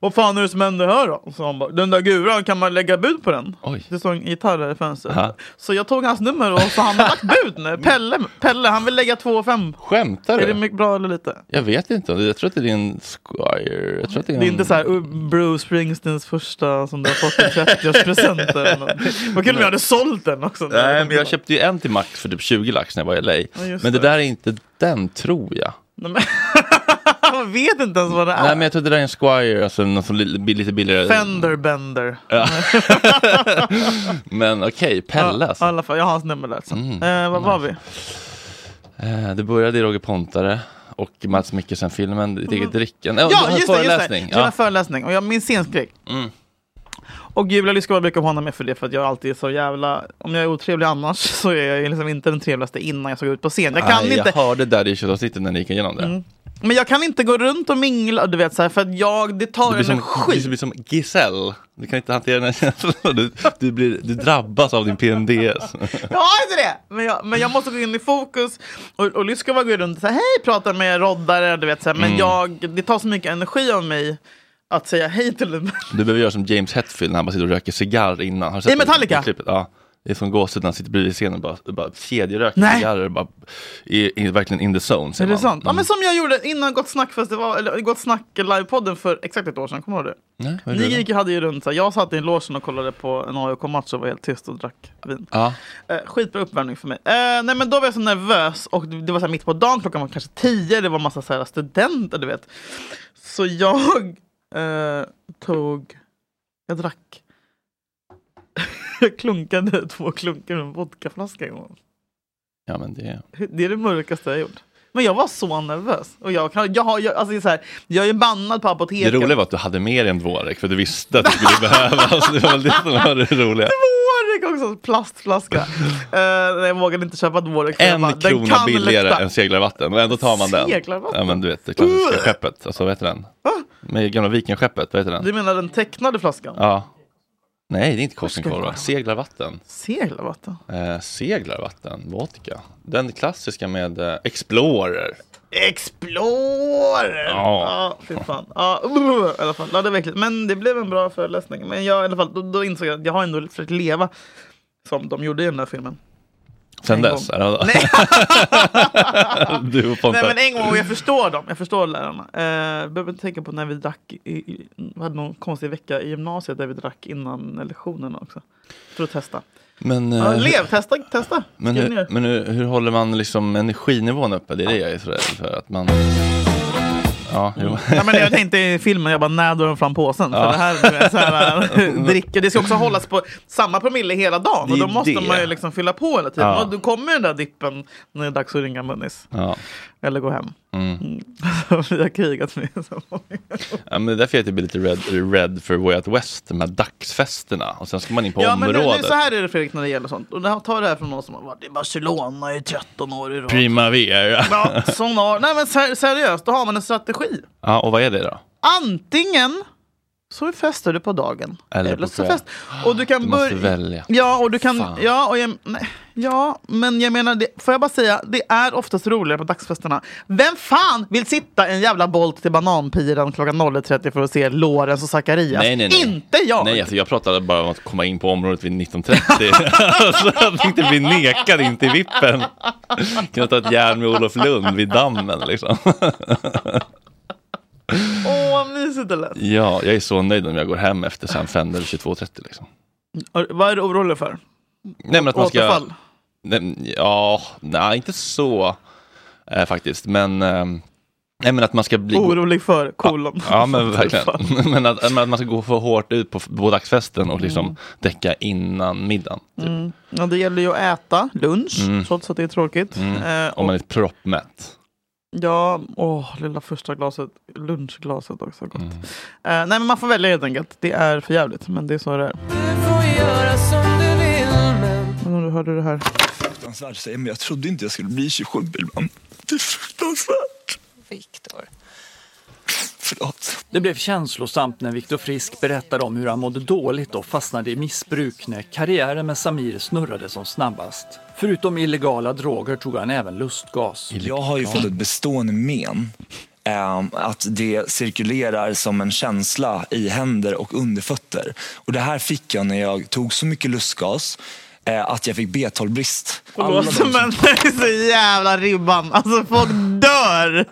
Vad fan är det som händer här då? Så han bara, den där guran, kan man lägga bud på den? Oj. Det stod en gitarr här i fönstret. Aha. Så jag tog hans nummer och så han har lagt bud nu. Pelle, Pelle han vill lägga 2 5. Skämtar Är det du? mycket bra eller lite? Jag vet inte. Jag tror att det är din Squire. Jag tror att det är, Det är en- inte så här uh, Bruce Springsteens första som du har fått i 30-årspresent. eller något. Vad kul om jag hade sålt den också. Nej, men jag köpte ju en till Max för typ 20 lax när jag var i LA. just men det det. Äh. där är inte den, tror jag. Nej, men- Jag vet inte ens vad det Nej, är. men jag tror det där är en Squire, alltså någon som li- blir lite billigare. Fender Bender. Men okej, Pelle Ja, I alltså. alla fall, jag har hans nummer där. sen. Mm. eh, vad var vi? Eh, Det började i Roger Pontare och Mats Mikkelsen-filmen, Ditt eget drickande. Oh, Mm. Ja, just det! Just det. föreläsning. Mm. Jag har en föreläsning och jag minns scenskräck. Och Julia Lyskova brukar håna mig för det för att jag alltid är så jävla... Om jag är otrevlig annars så är jag liksom inte den trevligaste innan jag ska gå ut på scen. Jag kan Aj, inte... Mm. jag hörde där i köttavsnittet när ni gick igenom det. Men jag kan inte gå runt och mingla, du vet så här, för att jag, det tar Du blir, som, energi. du blir som Giselle. Du kan inte hantera den här känslan. Du, du, blir, du drabbas av din PMDS. Jag har inte det! Men jag, men jag måste gå in i fokus. Och, och Lyskova går runt och säger hej, pratar med roddare, du vet så här. Men Mm. jag, det tar så mycket energi av mig att säga hej till en Du behöver göra som James Hetfield när han bara sitter och röker cigarr innan. Har du sett I det- Metallica? det klippet? Ja. Det är som gåshud när han sitter bredvid scenen och bara, bara kedjeröker Nej. cigarrer. och Bara, är, är verkligen in the zone. Är säger det man. Mm. sant? Ja, men som jag gjorde innan Gott snack festival, eller Gott snack livepodden för exakt ett år sedan, kommer du ihåg Nej, vad är det? det Ni då? gick, hade ju runt, så här, jag satt i logen och kollade på en AIK-match och var helt tyst och drack vin. Ja. Eh, skitbra uppvärmning för mig. Eh, nej men då var jag så nervös och det det var så här mitt på dagen, klockan var kanske tio, det var massa så här studenter du vet. Så jag eh, tog, jag drack, jag klunkade två klunkar ur en vodkaflaska en gång. ja, men det... Det är det mörkaste jag har gjort. Men jag var så nervös. Och jag, kan, jag, har, jag, alltså det är så här, jag är bannad på Det apoteket. roliga var att du hade med dig en dvårek för du visste att det skulle behövas. Det var väl det som var det roliga. Dvorik också, plastflaska. Eh, nej, jag vågade inte köpa Dvorik. för jag bara, En den krona kan billigare läcka. än seglarvatten och ändå tar man den. Seglarvatten? Ja men du vet det klassiska skeppet, alltså vad heter den? Med gamla vikingskeppet, vad heter den? Du menar den tecknade flaskan? Ja. Nej det är inte Koskenkorva, seglarvatten. Seglarvatten? Eh, seglarvatten, vodka. Den klassiska med eh, Explorer. Explorer! Ja. Ja, fy fan. Ja, uh, i alla fall. Ja, det var äckligt. Men det blev en bra föreläsning. Men jag, i alla fall, då, då insåg jag att jag har ändå försökt leva som de gjorde i den här filmen. Sen En dess. gång. är det- Nej. du och Pontus. Nej men en gång, och jag förstår dem. Jag förstår lärarna. Eh, behöver inte tänka på när vi drack, i, i, vi hade någon konstig vecka i gymnasiet där vi drack innan lektionerna också. För att testa. Men, Ja, eh, lev, testa, testa. men, Skriv hur, ner. men hur, hur håller man liksom energinivån uppe? Det är det jag är så rädd för. Att man... Ja, jo. Ja, men jag tänkte i filmen, jag bara när drar de fram påsen? För det här, är så här dricker, det ska också hållas på samma promille hela dagen. Det är Och då måste det. man ju liksom fylla på hela tiden. Ja. Och då kommer den där dippen när det är dags att ringa Munnis. ja. Eller gå hem. Mm. vi har krigat med så många. Ja, men det är därför jag typ blir lite red, red för Way Out West, de här dagsfesterna. Och sen ska man in på Ja, men nu, nu, området. så här är det Fredrik när det gäller sånt. Och det här- ta det här från någon som har varit i Barcelona i 13 år i rad. Primavera. Ja, sån har, nej men ser, seriöst, då har man en strategi. Ja, och vad är det då? Antingen så festar du på dagen. Eller på så kvällen. fest. Och du kan Du måste börja- välja. Ja, och du kan, Fan. ja, och jag, nej, ja, men jag menar, det, får jag bara säga, det är oftast roligare på dagsfesterna. Vem fan vill sitta en jävla bolt till bananpiran klockan 01.30 för att se Lorenz och Zacharias? Nej, nej, nej. Inte jag! Nej, alltså jag pratade bara om att komma in på området vid 1930. så jag tänkte bli nekad in till vippen. Kunna ta ett järn med Olof Lund vid dammen liksom. Åh, vad mysigt det lät. Ja, jag är så nöjd om jag går hem efter Sam Fender 22.30 liksom. Och Vad är du orolig för? Nej, men att man ska... Återfall? Nej, ja, nej, inte så eh, faktiskt. Men, ehm, nej, men att man ska bli... Orolig för kolon? Ja, men verkligen. Återfall. men, att, men att man ska gå för hårt ut på, på dagsfesten och Mm. liksom däcka innan middagen. Typ. Ja, det gäller ju att äta lunch, trots att det är tråkigt. Eh, Mm. Om och, man är proppmätt. Ja, åh, lilla första glaset, lunchglaset också gott. Mm. Eh, nej, men man får välja helt enkelt. Det är för jävligt, men det är så det är. Men om du hörde det här. fruktansvärt säger, men jag trodde inte jag skulle bli 27 Billman. Det är fruktansvärt. Viktor. Förlåt. Det blev känslosamt när Viktor Frisk berättade om hur han mådde dåligt och fastnade i missbruk när karriären med Samir snurrade som snabbast. Förutom illegala droger tog han även lustgas. Jag har ju fått ett bestående men. ehm, Att det cirkulerar som en känsla i händer och underfötter. Och det här fick jag när jag tog så mycket lustgas eh, att jag fick B12-brist. Alla de Förlåt, som- men det är så jävla ribban. Alltså folk dör.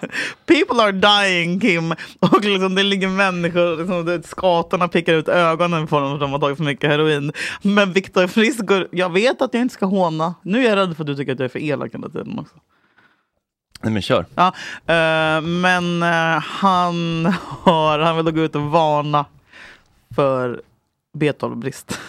People are dying Kim. Och liksom, det ligger människor, liksom, det- skatorna pickar ut ögonen på dem för att de har tagit för mycket heroin. Men Viktor Frisk, går- jag vet att jag inte ska håna. Nu är jag rädd för att du tycker att jag är för elak hela tiden också. Nej men kör. Ja, eh, men eh, han, har, han vill då gå ut och varna för B12-brist.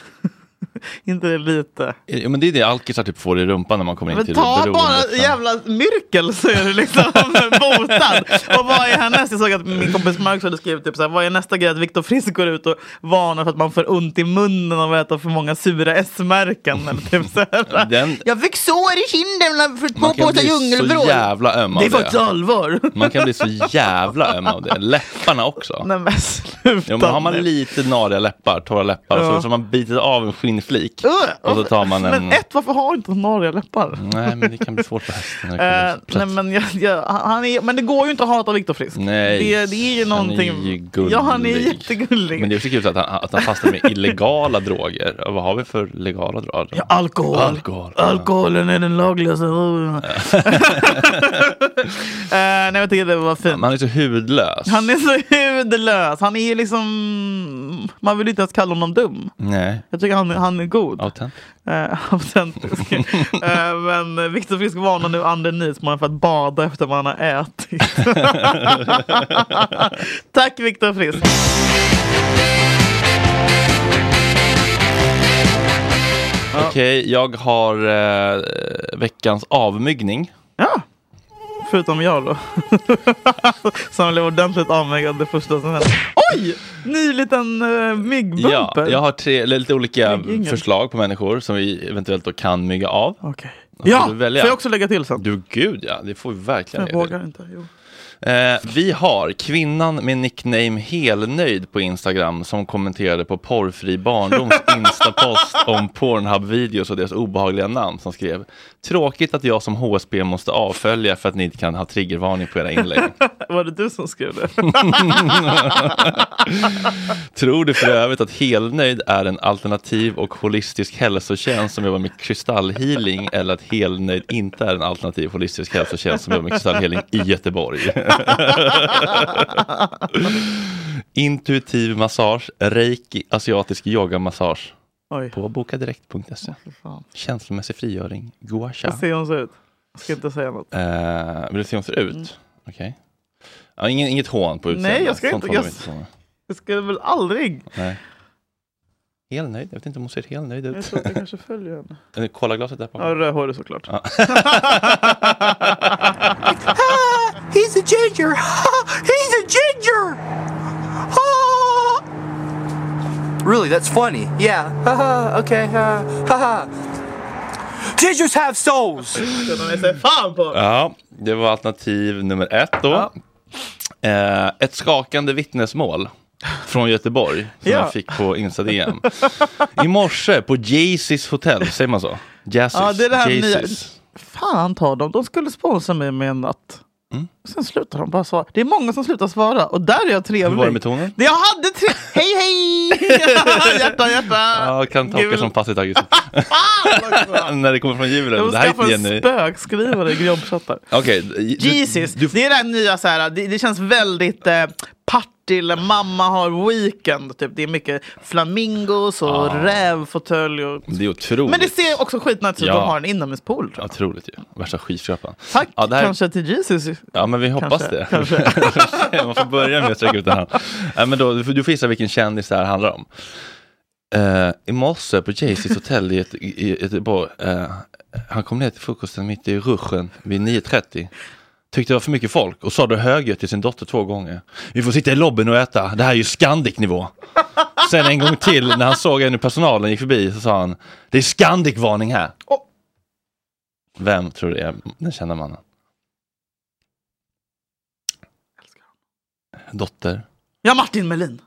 inte det lite? Ja, Eh, men det är det alkisar typ får i rumpan när man kommer in Men till ta bara beroendet. jävla myrkel så är du liksom botad. Och vad är härnäst? Jag såg att min kompis Marcus hade skrivit typ så här, vad är nästa grej? Att Viktor Frisk går ut och varnar för att man får ont i munnen av att äta för många sura S-märken. Eller typ så här. Den- Jag fick sår i kinden för två Man kan påsar bli djungelvrål. så jävla öm av Det är det. faktiskt allvar. Man kan bli så jävla öm av det. Läpparna också. Nej men sluta Ja, men har man nu. lite nariga läppar, torra läppar, Ja. och så, så har man bitit av en skinnflik. Ugh! Och så tar man en... Mm. Men ett, varför har inte hon norriga läppar? Nej, men det kan bli svårt för hästen. när det kommer Eh, upp nej, plötsligt. men, jag, jag, han är, men det går ju inte att hata Viktor Frisk. Nej, det, det är ju någonting. han är ju gullig. Ja, han är jättegullig. Men det är också kul att han, att han fastnar med illegala droger. Och Vad har vi för legala droger? Ja, alkohol. Alkohol. Alkoholen är den lagligaste. uh, nej, jag tycker det var fint. Men han är så hudlös. Han är så hudlös. Han är ju liksom... Man vill inte ens kalla honom dum. Nej, Jag tycker han, han är god. autentisk. Eh, autentisk. Eh, men Viktor Frisk varnar nu Anden Nisman för att bada efter man har ätit. Tack Viktor Frisk. Okej, jag har eh, veckans avmyggning. Ja. Förutom jag då. Som blev ordentligt avmäggad det första som hände. Oj! Ny liten uh, myggbumper. Ja, jag har tre, eller lite olika Myggingar. förslag på människor som vi eventuellt då kan mygga av. Okej. Då Ja, får du får välja. jag också lägga till sen? Du gud ja, det får vi verkligen jag lägga till. vågar inte. Jo. Eh, vi har kvinnan med nickname Helnöjd på Instagram som kommenterade på Porrfri Barndoms Instapost om Pornhub-videos och deras obehagliga namn som skrev Tråkigt att jag som HSB måste avfölja för att ni inte kan ha triggervarning på era inlägg. Var det du som skrev det? Tror du för övrigt att Helnöjd är en alternativ och holistisk hälsotjänst som jobbar med kristallhealing eller att Helnöjd inte är en alternativ holistisk hälsotjänst som jobbar med kristallhealing i Göteborg? Intuitiv massage, reiki, asiatisk yogamassage Oj, på bokadirekt.se. fan. Känslomässig frigöring, gua sha. Jag ser hur hon ser ut. Jag ska inte säga något. Eh, vill du se hur hon ser ut? Okej. Ja, ingen, inget hån på utseendet. Mm. jag ska Sånt inte- håller vi jag- på med. Jag skulle väl aldrig... Nej. Helt nöjd. Jag vet inte om hon ser helt nöjd Jag ut. tror att jag kanske följer henne. Eller Kolla glaset där på. Ja, rödhårig såklart. Ja. He's a ginger! He's a ginger! Really, that's funny. Yeah. okay. Gingers have souls! Jag säger fan på honom. Ja, det var alternativ nummer ett då. Eh, ett skakande vittnesmål. från Göteborg som Ja. jag fick på Insta-DM. I morse på Jaycees hotell, säger man så? Jaycees? Ja, det är det här nya. Jaycees. Fan ta dem, de skulle sponsra mig med en natt. Mm. Sen slutar de bara svara. Det är många som slutar svara och där är jag trevlig. Hur var det med tonen? Jag hade tre... Hej hej! hjärta hjärta! Ja, kan tolkas Gul. Ah, som passivt aggressivt. När det kommer från julen. Jag Det här är inte skaffade en Jenny. spökskrivare i grobbchattar. Okej, d- du- Jesus, det är det här nya så här, det, det känns väldigt eh, Partille, mamma har weekend. Typ. Det är mycket flamingos och Ah. rävfåtölj. Och... det är otroligt. Men det ser också skitnice ut. Mm. Ja. De har en inomhuspool. tror jag. Otroligt ju. Värsta skitköparen. Tack, Ja, det här- kanske till Jesus. Ja, men vi hoppas Kanske, det. kanske. Man får börja med att sträcka ut en hand. Nej, men då, du får- du får gissa vilken kändis det här handlar om. Eh, I morse på Jaycees hotell i Göte- i i Göteborg, eh, han kom ner till frukosten mitt i ruschen vid 9.30. Tyckte det var för mycket folk och sa det högljutt till sin dotter två gånger. Vi får sitta i lobbyn och äta, det här är ju Scandic-nivå. Sen en gång till när han såg en i personalen gick förbi så sa han, det är Scandic-varning här. Vem tror du är den kända mannen? Dotter. Ja, Martin Melin.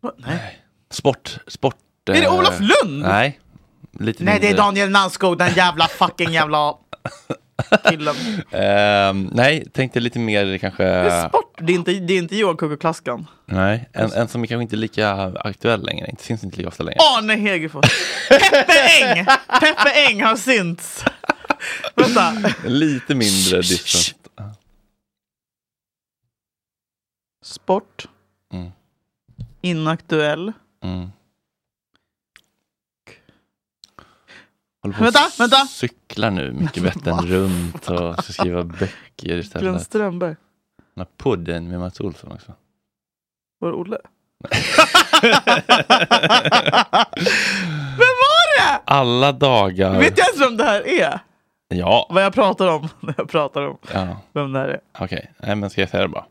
Va? Nej. Sport. sport eh, Är det Olof Lund? Nej. Lite Nej, det är mindre. Daniel Nanskog, den jävla fucking jävla killen. Ehm, nej, tänkte lite mer kanske... Det är sport, det är inte, det är inte Johan Kuk Klaskan. Nej, en, en som är kanske inte lika aktuell längre. Inte syns inte lika ofta längre. Arne Hegerfors. Peppe Eng! Peppe Eng har synts. Vänta. Lite mindre distans. Sport. Mm. Inaktuell. Mm. Håller Vänta, och vänta. Cyklar nu mycket bättre runt och ska skriva böcker Glenn istället. Strömberg. Den här podden med Mats Olsson också. Var det Olle? Vem var det? Alla dagar. Vet jag ens vem det här är? Ja, Vad jag pratar om. När jag pratar om ja. vem det här är. okej. Nej, men ska jag säga det bara?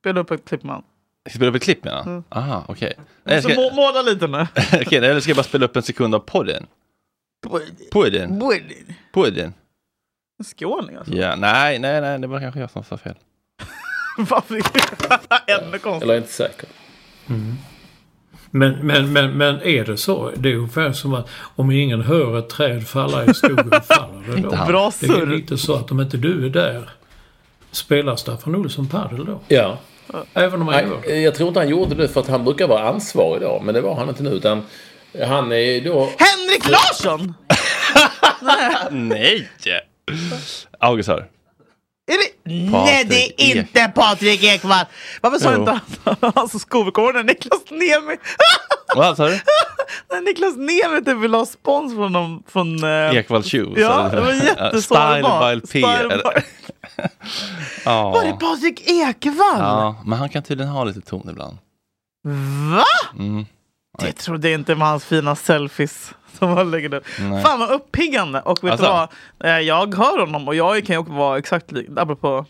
Spela upp ett klipp man. Ska jag spela upp ett klipp menar Mm. Alltså, mm. Aha, okej. Nej, Så jag ska- må- måla lite nu. Okej, eller ska jag bara spela upp en sekund av podden? Podden? Bodin. Podden? En skåning alltså. Ja, nej, nej, nej, det var kanske jag som sa fel. Varför? Ännu konstigt. Eller inte säker. Men, men, men, men är det så? Det är ungefär som att om ingen hör ett träd falla i skogen faller det då. Inte han. Bra det är surr. lite så att om inte du är där, spelar Staffan Olsson padel då? Ja. Även om han Nej, gör det? Jag tror inte han gjorde det för att han brukar vara ansvarig då, men det var han inte nu. Utan han är då... Henrik Larsson! Nej! August här. Är det? Nej, Patrik det är Ek. inte Patrik Ekwall! Varför sa Jo. inte han alltså skovrekorden Niklas Niemi? Vad sa du? När Niklas Niemi typ ville ha spons från dem från... Eh, Ekwall Shoes. Ja, det var Style jättesårbart. by P. Style eller- by- Ja. Var det Patrik Ekwall? Ja, men han kan tydligen ha lite ton ibland. Va? Mm. Det trodde jag inte med hans fina selfies. Som han lägger upp. Nej. Fan vad uppiggande! Och vet du vad? Alltså. Eh, Jag hör honom och jag kan ju också vara exakt lik, apropå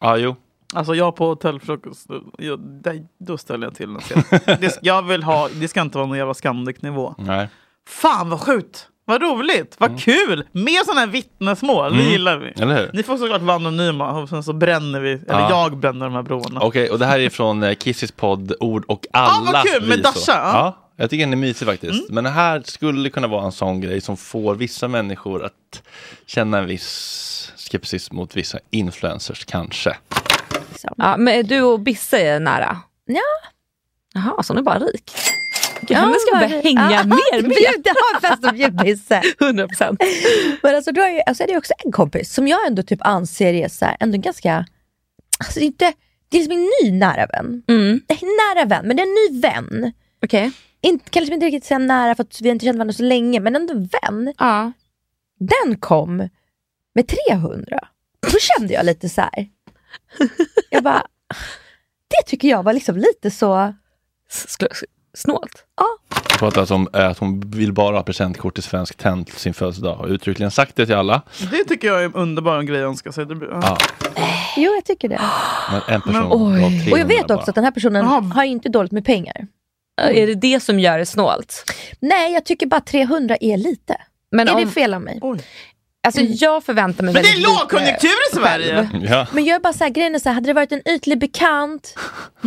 Ja, jo. Alltså jag på hotellfrukost, då- jag, där, då ställer jag till en scen. det, ska- jag vill ha, det ska inte vara någon jävla Scandic-nivå. Nej. Fan vad sjukt! Vad roligt! Vad kul! Mer sådana här vittnesmål, det Mm. gillar vi. Eller hur? Ni får såklart vara anonyma och sen så bränner vi, eller Ja. jag bränner de här broarna. Okej, och det här är från eh, Kissis podd Ord och alla vad kul, med visor. Dasha, ja. Ja. jag tycker den är mysig faktiskt. Men det här skulle kunna vara en sån grej som får vissa människor att känna en viss skepsis mot vissa influencers, kanske. liksom. Ja, men du och Bisse är nära? Ja. Jaha, så hon är bara rik. Gud, henne ska vi börja hänga mer med. Bjud, ha en fest och bjud Bisse. 100 procent. Men alltså, du har ju, alltså, är det är också en kompis som jag ändå typ anser är så här, ändå ganska... Alltså, det, är inte, det är liksom en ny nära vän. Det är en nära vän, men det är en ny vän. Mm. Okej. Inte, kan liksom inte riktigt säga nära för att vi har inte känt varandra så länge, men ändå vän. Den kom med 300. Då kände jag lite så här. Jag bara, det tycker jag var liksom lite så... Snålt. Jag pratar alltså om eh, att hon vill bara ha presentkort till Svensk Tenn till sin födelsedag. Har uttryckligen sagt det till alla. Det tycker jag är en underbar grej att önska sig. Det blir, Ja, Jo, jag tycker det. men en person Men- gav Oj. Och jag 300 vet också bara. att den här personen har ju inte dåligt med pengar. Mm. Är det det som gör det snålt? Nej, jag tycker bara 300 är lite. Men är om- det fel av mig? Mm. Alltså jag förväntar mig Men det är väldigt lite lågkonjunktur i själv. Sverige! Ja. Men jag är bara såhär, grejen är så här, hade det varit en ytlig bekant,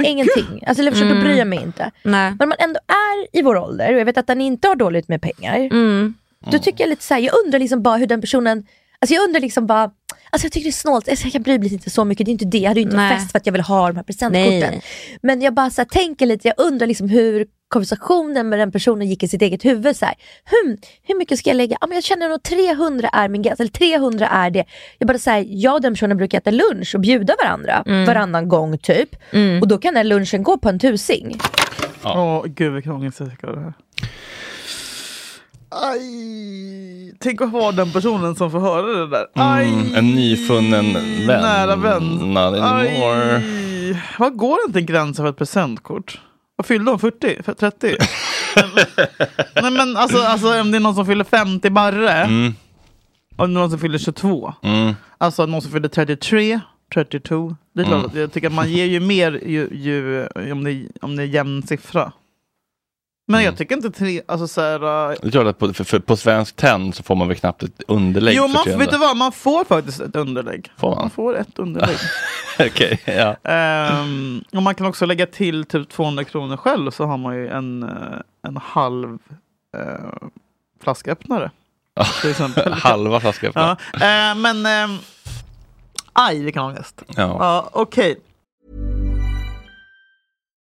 ingenting. Alltså jag försöker Mm. bry mig inte. Nej. Men om man ändå är i vår ålder, och jag vet att han inte har dåligt med pengar. Mm. Då tycker jag lite såhär, jag undrar liksom bara hur den personen, alltså jag undrar liksom bara, alltså jag tycker det är snålt, alltså jag bryr mig inte så mycket, det är inte det, jag hade ju inte Nej. fest för att jag vill ha de här presentkorten. Nej. Men jag bara så här, tänker lite, jag undrar liksom hur konversationen med den personen gick i sitt eget huvud. Så här, hm, hur mycket ska jag lägga? Ja, men jag känner nog 300 är min gräns, eller 300 är det. Jag bara så här, jag och den personen brukar äta lunch och bjuda varandra Mm. varannan gång typ. Och då kan den lunchen gå på en tusing. Åh, gud vilken ångest jag fick av det här. Aj. Tänk att vara den personen som får höra det där. Aj, Mm, en nyfunnen vän. nära vän. Not anymore. Aj. Vad går inte en gräns för ett presentkort? Vad fyllde hon? 40? För 30? Nej men alltså, alltså om det är någon som fyller 50 barre. Mm. Om det är någon som fyller 22. Mm. Alltså någon som fyller 33, 32. Det är klart, Mm. att jag tycker att man ger ju mer ju, ju, om, det, om det är jämn siffra. Men Mm. jag tycker inte tre, alltså så här, äh, Det är klart att på, för, för, på svensk tenn så får man väl knappt ett underlägg Jo, för man, 300. vet du vad, man får faktiskt ett underlägg. Får man? får ett underlägg. Okej, ja. Ehm, och man kan också lägga till typ 200 kronor själv så har man ju en, eh, en halv eh, flasköppnare. Till exempel. Halva flasköppnare. Ja, eh, men ehm, aj vilken ångest. Ja. Ja, Okej,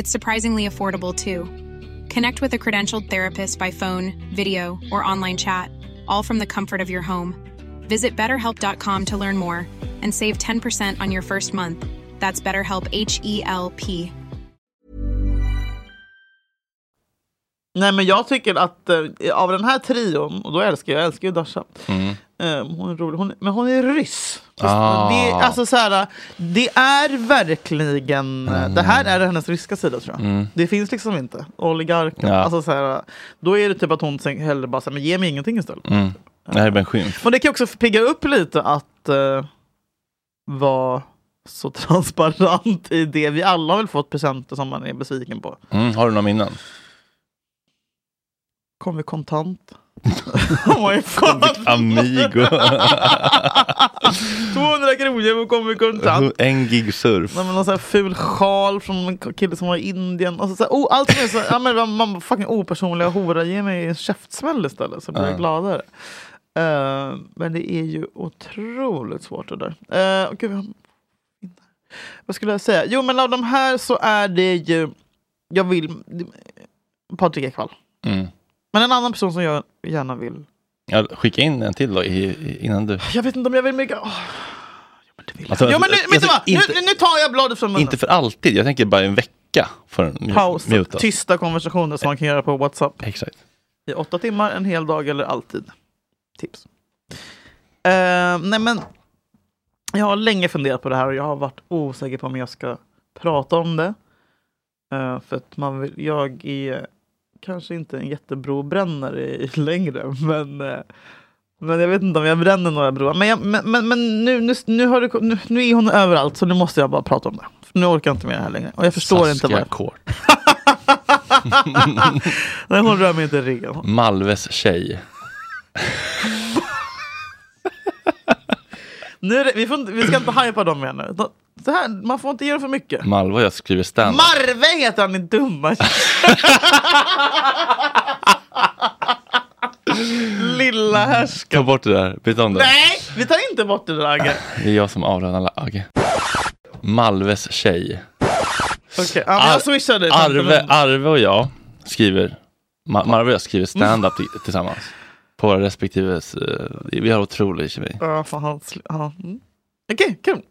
It's surprisingly affordable too. Connect with a credentialed therapist by phone, video, or online chat, all from the comfort of your home. Visit betterhelp.com to learn more and save 10% on your first month. That's BetterHelp H E L P. nej men jag tycker att eh, av den här trion, och då älskar jag, jag älskar ju Dasha. Mm. Eh, hon är rolig, hon, är- men hon är ryss. Ah. Det, är- alltså, så här, det är verkligen, det här är hennes ryska sida tror jag. Mm. Det finns liksom inte. Oligarken. Ja. Alltså, så här, då är det typ att hon sen hellre bara, så här, men ge mig ingenting istället. Mm. Det här är bara en skymf. Men det kan också pigga upp lite att eh, vara så transparent i det. Vi alla har väl fått presenter som man är besviken på. Mm. Har du några minnen? Kom vi kontant? oh my god! Amigo. 200 kronor och kom vi kontant. en gig surf. Nej, men någon sån här ful sjal från en kille som var i Indien. Och så, så här, oh, allt mer så här, ja, men man, man fucking opersonliga hora, ge mig en käftsmäll istället så blir Ja. jag gladare. Eh, men det är ju otroligt svårt det där. Eh, och gud, vad- vad skulle jag säga? Jo men av de här så är det ju, jag vill, Patrik Ekwall. Mm. Men en annan person som jag gärna vill, Ja, skicka in en till då i, i, innan du... jag vet inte om jag vill mycket, åh, Alltså, ja, men nu, vet du vad? inte, nu, nu tar jag bladet från munnen. inte för alltid, jag tänker bara en vecka. För en mute, Paus, mute oss. tysta konversationer som man kan göra på Whatsapp. Exakt. I åtta timmar, en hel dag eller alltid. Tips. Eh, nej men, jag har länge funderat på det här och jag har varit osäker på om jag ska prata om det. Eh, för att man vill, jag är kanske inte en jättebrobrännare i- längre, men, eh, men jag vet inte om jag bränner några broar. Men, jag, men, men, men nu, nu, nu, har det, ko- nu, nu är hon överallt så nu måste jag bara prata om det. För nu orkar jag inte med det här längre. Och jag förstår inte Saskia varför. Kort. Nej, hon rör mig inte i ryggen. Malves tjej. Nu är det, vi, får, inte- vi ska inte hypa dem mer nu. De- Så här, man får inte ge dem för mycket. Malva jag skriver stand Marve heter han, din dumma Lilla härsk. Ta bort det där, byt om det. Nej, vi tar inte bort det där Agge. Det är jag som avlönar lag. Malves tjej. Okej, ja, men Ar- jag swishar dig. tanten. Arve, Arve och jag skriver, Ma- Marve och jag skriver Mm. stand-up t- tillsammans. På våra respektive, eh, vi har otrolig kemi. Ja, fan, han sl- ja. Mm. Okej, kul.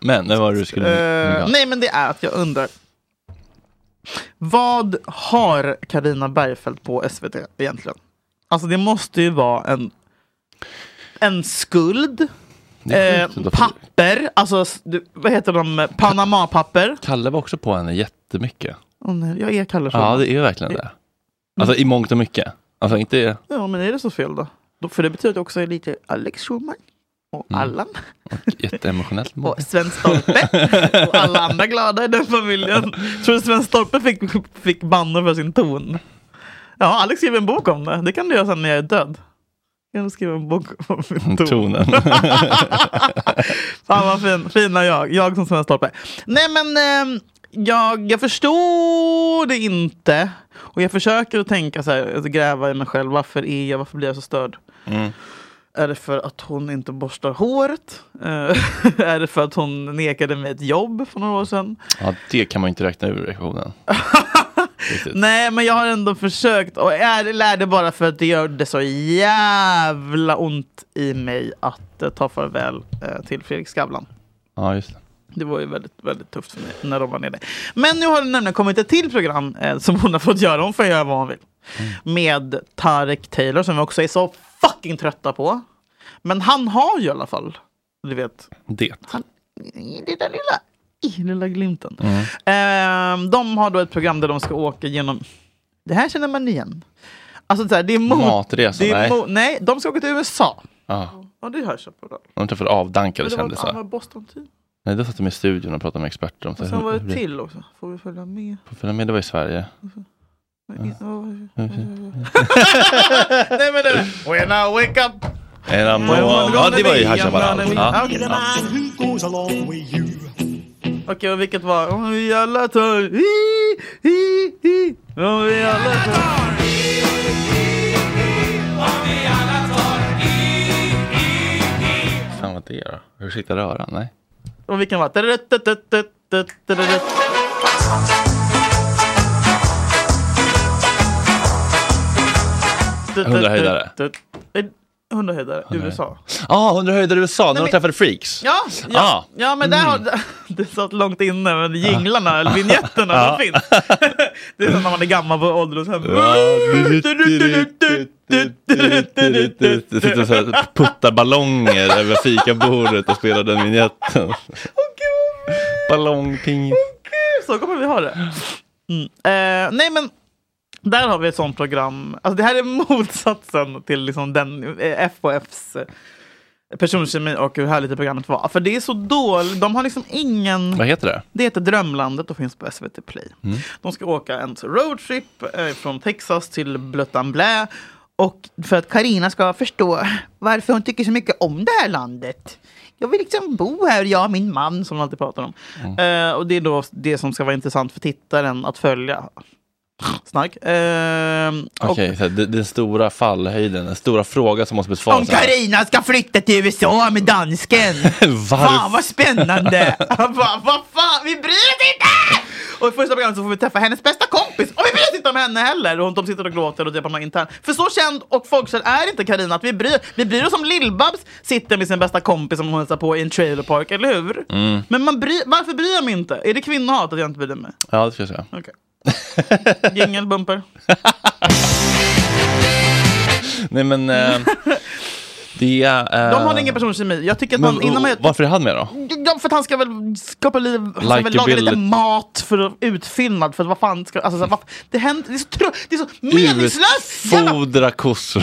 Men nu var Mm, det du skulle... Eh, nej, men det är att jag undrar. Vad har Karina Bergfeldt på SVT egentligen? Alltså det måste ju vara en, en skuld, Det är eh, sjukt ändå, för- papper, alltså s- du- vad heter de, Panama-papper. Kalle var också på henne jättemycket. Åh nej, jag Mm. är Kalle Schulman. Ja, det är ju verkligen det. Alltså i mångt och mycket. Alltså inte... Ja, men är det så fel då? då för det betyder att jag också är lite Alex Schulman och Mm. Allan Jätteemotionellt. och Sven Stolpe och alla andra glada i den familjen. Tror du Sven Stolpe fick, fick bannor för sin ton? Ja, Alex skrev en bok om det. Det kan du göra sen när jag är död. Kan du skriva en bok om min ton? Tonen. Fan vad fin, fina jag. Jag som Sven Stolpe. Nej men, ehm, jag, jag förstår det inte. Och jag försöker att tänka så här, alltså, gräva i mig själv. Varför är jag, varför blir jag så störd? Mm. Är det för att hon inte borstar håret? Eh, är det för att hon nekade mig ett jobb för några år sedan? Ja, det kan man ju inte räkna ur reaktionen. Nej, men jag har ändå försökt. Och är, eller är det bara för att det gör det så jävla ont i mig att eh, ta farväl eh, till Fredrik Skavlan? Ja, just det. Det var ju väldigt, väldigt tufft för mig när de var nere. Men nu har det nämligen kommit ett till program eh, som hon har fått göra. Hon får göra vad hon vill. Med Tarek Taylor som vi också är så fucking trötta på. Men han har ju i alla fall, du vet, Det. det där lilla, i lilla glimten. Ehm, de har då ett program där de ska åka genom... Det här känner man igen. Alltså så här, det är mot... Matresa, det är nej. Mot, nej, de ska åka till USA. Ja, Ja, det hörs jag på det. de träffade avdankade det var ett kändisar. annat Boston-team. Nej, då satt de i studion och pratade med experter. om så Och här, sen hur- var hur det blir- till också. Får vi följa med? För mig, det var i Sverige. Men i- åh, Nej men det When I wake up Ja, When I'm ja, det var ju gonna High be, I'm Chaparral. gonna be- Ja. Okej, ja. Okej, och vilket var? Om vi alla tar... Hi, hi, hi. Om vi alla tar... Fan vad det är då? Ursäkta röran? Nej. Och vilken var? Tadadadadadadadadadad. Hundrahöjdare. Hundrahöjdare, USA. Ja, ah, 100 höjder i USA när de träffade Freaks. Ja, ja, Ah. ja men där har, det satt långt inne, men jinglarna, eller vinjetterna, Ja. de finns. Det är som när man är gammal på ålderdomshem. Det sitter och så här puttar ballonger över fikabordet och spelar den vinjetten. Ballongping. Så kommer vi ha det. Mm. Eh, nej men, där har vi ett sånt program. Alltså, det här är motsatsen till liksom den eh, FHFs eh, personkemi och hur härligt det programmet var. För det är så dåligt, de har liksom ingen... Vad heter det? Det heter Drömlandet och finns på SVT Play. Mm. De ska åka en roadtrip eh, från Texas till Blöttanblä. Och för att Karina ska förstå varför hon tycker så mycket om det här landet. Jag vill liksom bo här, jag och min man som de alltid pratar om. Mm. Eh, och det är då det som ska vara intressant för tittaren att följa. Snark. Ehm, och- Okej, så här, det- den stora fallhöjden, den stora frågan som måste Om besvaras. här. Karina ska flytta till USA med dansken! Fan vad spännande! Han bara, vad fan, vi bryr oss inte! Och i första programmet så får vi träffa hennes bästa kompis och vi bryr oss inte om henne heller! Och de sitter och gråter och det på någon intern. För så känd och folkkär är inte Karina att vi bryr, vi bryr oss om Lill-Babs sitter med sin bästa kompis som hon hälsar på i en trailerpark, eller hur? Mm. Men man bryr, varför bryr jag mig inte? Är det kvinnohat att jag inte bryr mig? Ja, det ska jag säga. Okej. Jingel, bumper. Nej men, eh, det är... eh, De har ingen personkemi. Jag tycker att man, innan man gör Varför är han med då? Ja, för att han ska väl skapa liv, han ska väl laga lite Likeability. mat för utfyllnad. För vad fan ska, alltså, så här, vad, det händer, det är så, trö, det är så meningslöst! jävla- Utfodra kossor.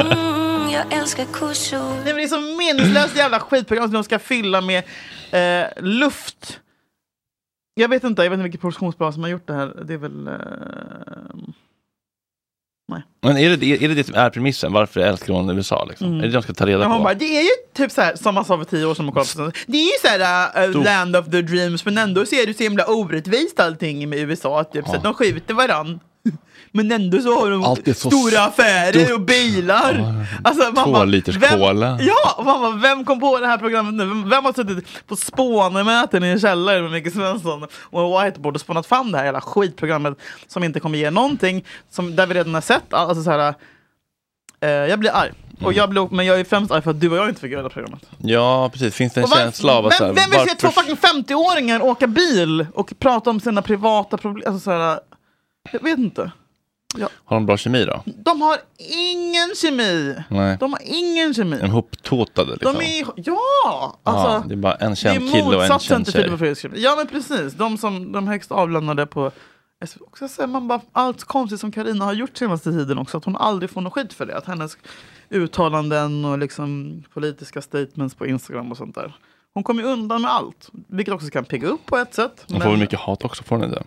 Mm, jag älskar kossor. Nej, men det är så meningslöst jävla skitprogram som de ska fylla med eh, luft. Jag vet inte, jag vet inte vilket produktionsbolag som har gjort det här. Det är väl... Eh, nej. Men är det det, är det, det som är premissen? Varför älskar hon USA? Liksom? Mm. Är det det de ska ta reda Ja, på? hon bara, det är ju typ så här, som man sa för tio år sedan man kollade på sånt. Det är ju så här äh, Stort. land of the dreams men ändå så är det så himla orättvist allting med USA. Typ, så att de skjuter varann. Men ändå så har Allt är de så stora affärer och stort. bilar. Alltså, Två liters vem, cola. Ja, och man bara, vem kom på det här programmet nu? Vem, vem har suttit på spånemöten i en källare med Micke Svensson och en whiteboard och spånat fram det här jävla skitprogrammet som inte kommer ge någonting, som, där vi redan har sett, alltså så här, eh, jag blir arg. Mm. Och jag blir, men jag är främst arg för att du och jag inte fick göra det här programmet. Ja, precis. Finns det en Och varför- känsla av att... så här, vem, vem vill se två varför- fucking 50-åringar åka bil och prata om sina privata problem? Alltså så här, jag vet inte. Ja. Har de bra kemi då? De har ingen kemi. Nej. De har ingen kemi. De är hoptåtade liksom. De är, ja! Alltså, ja, det är bara en det är känd kille och en motsatsen känd till tjej. Filip och Fredriks kemi. Ja men precis, de som de högst avlönade på SV. och så säger man bara allt konstigt som Karina har gjort senaste tiden också, att hon aldrig får någon skit för det. Att hennes uttalanden och liksom politiska statements på Instagram och sånt där. Hon kommer ju undan med allt, vilket också kan pigga upp på ett sätt. Hon får väl mycket hat också, får hon inte?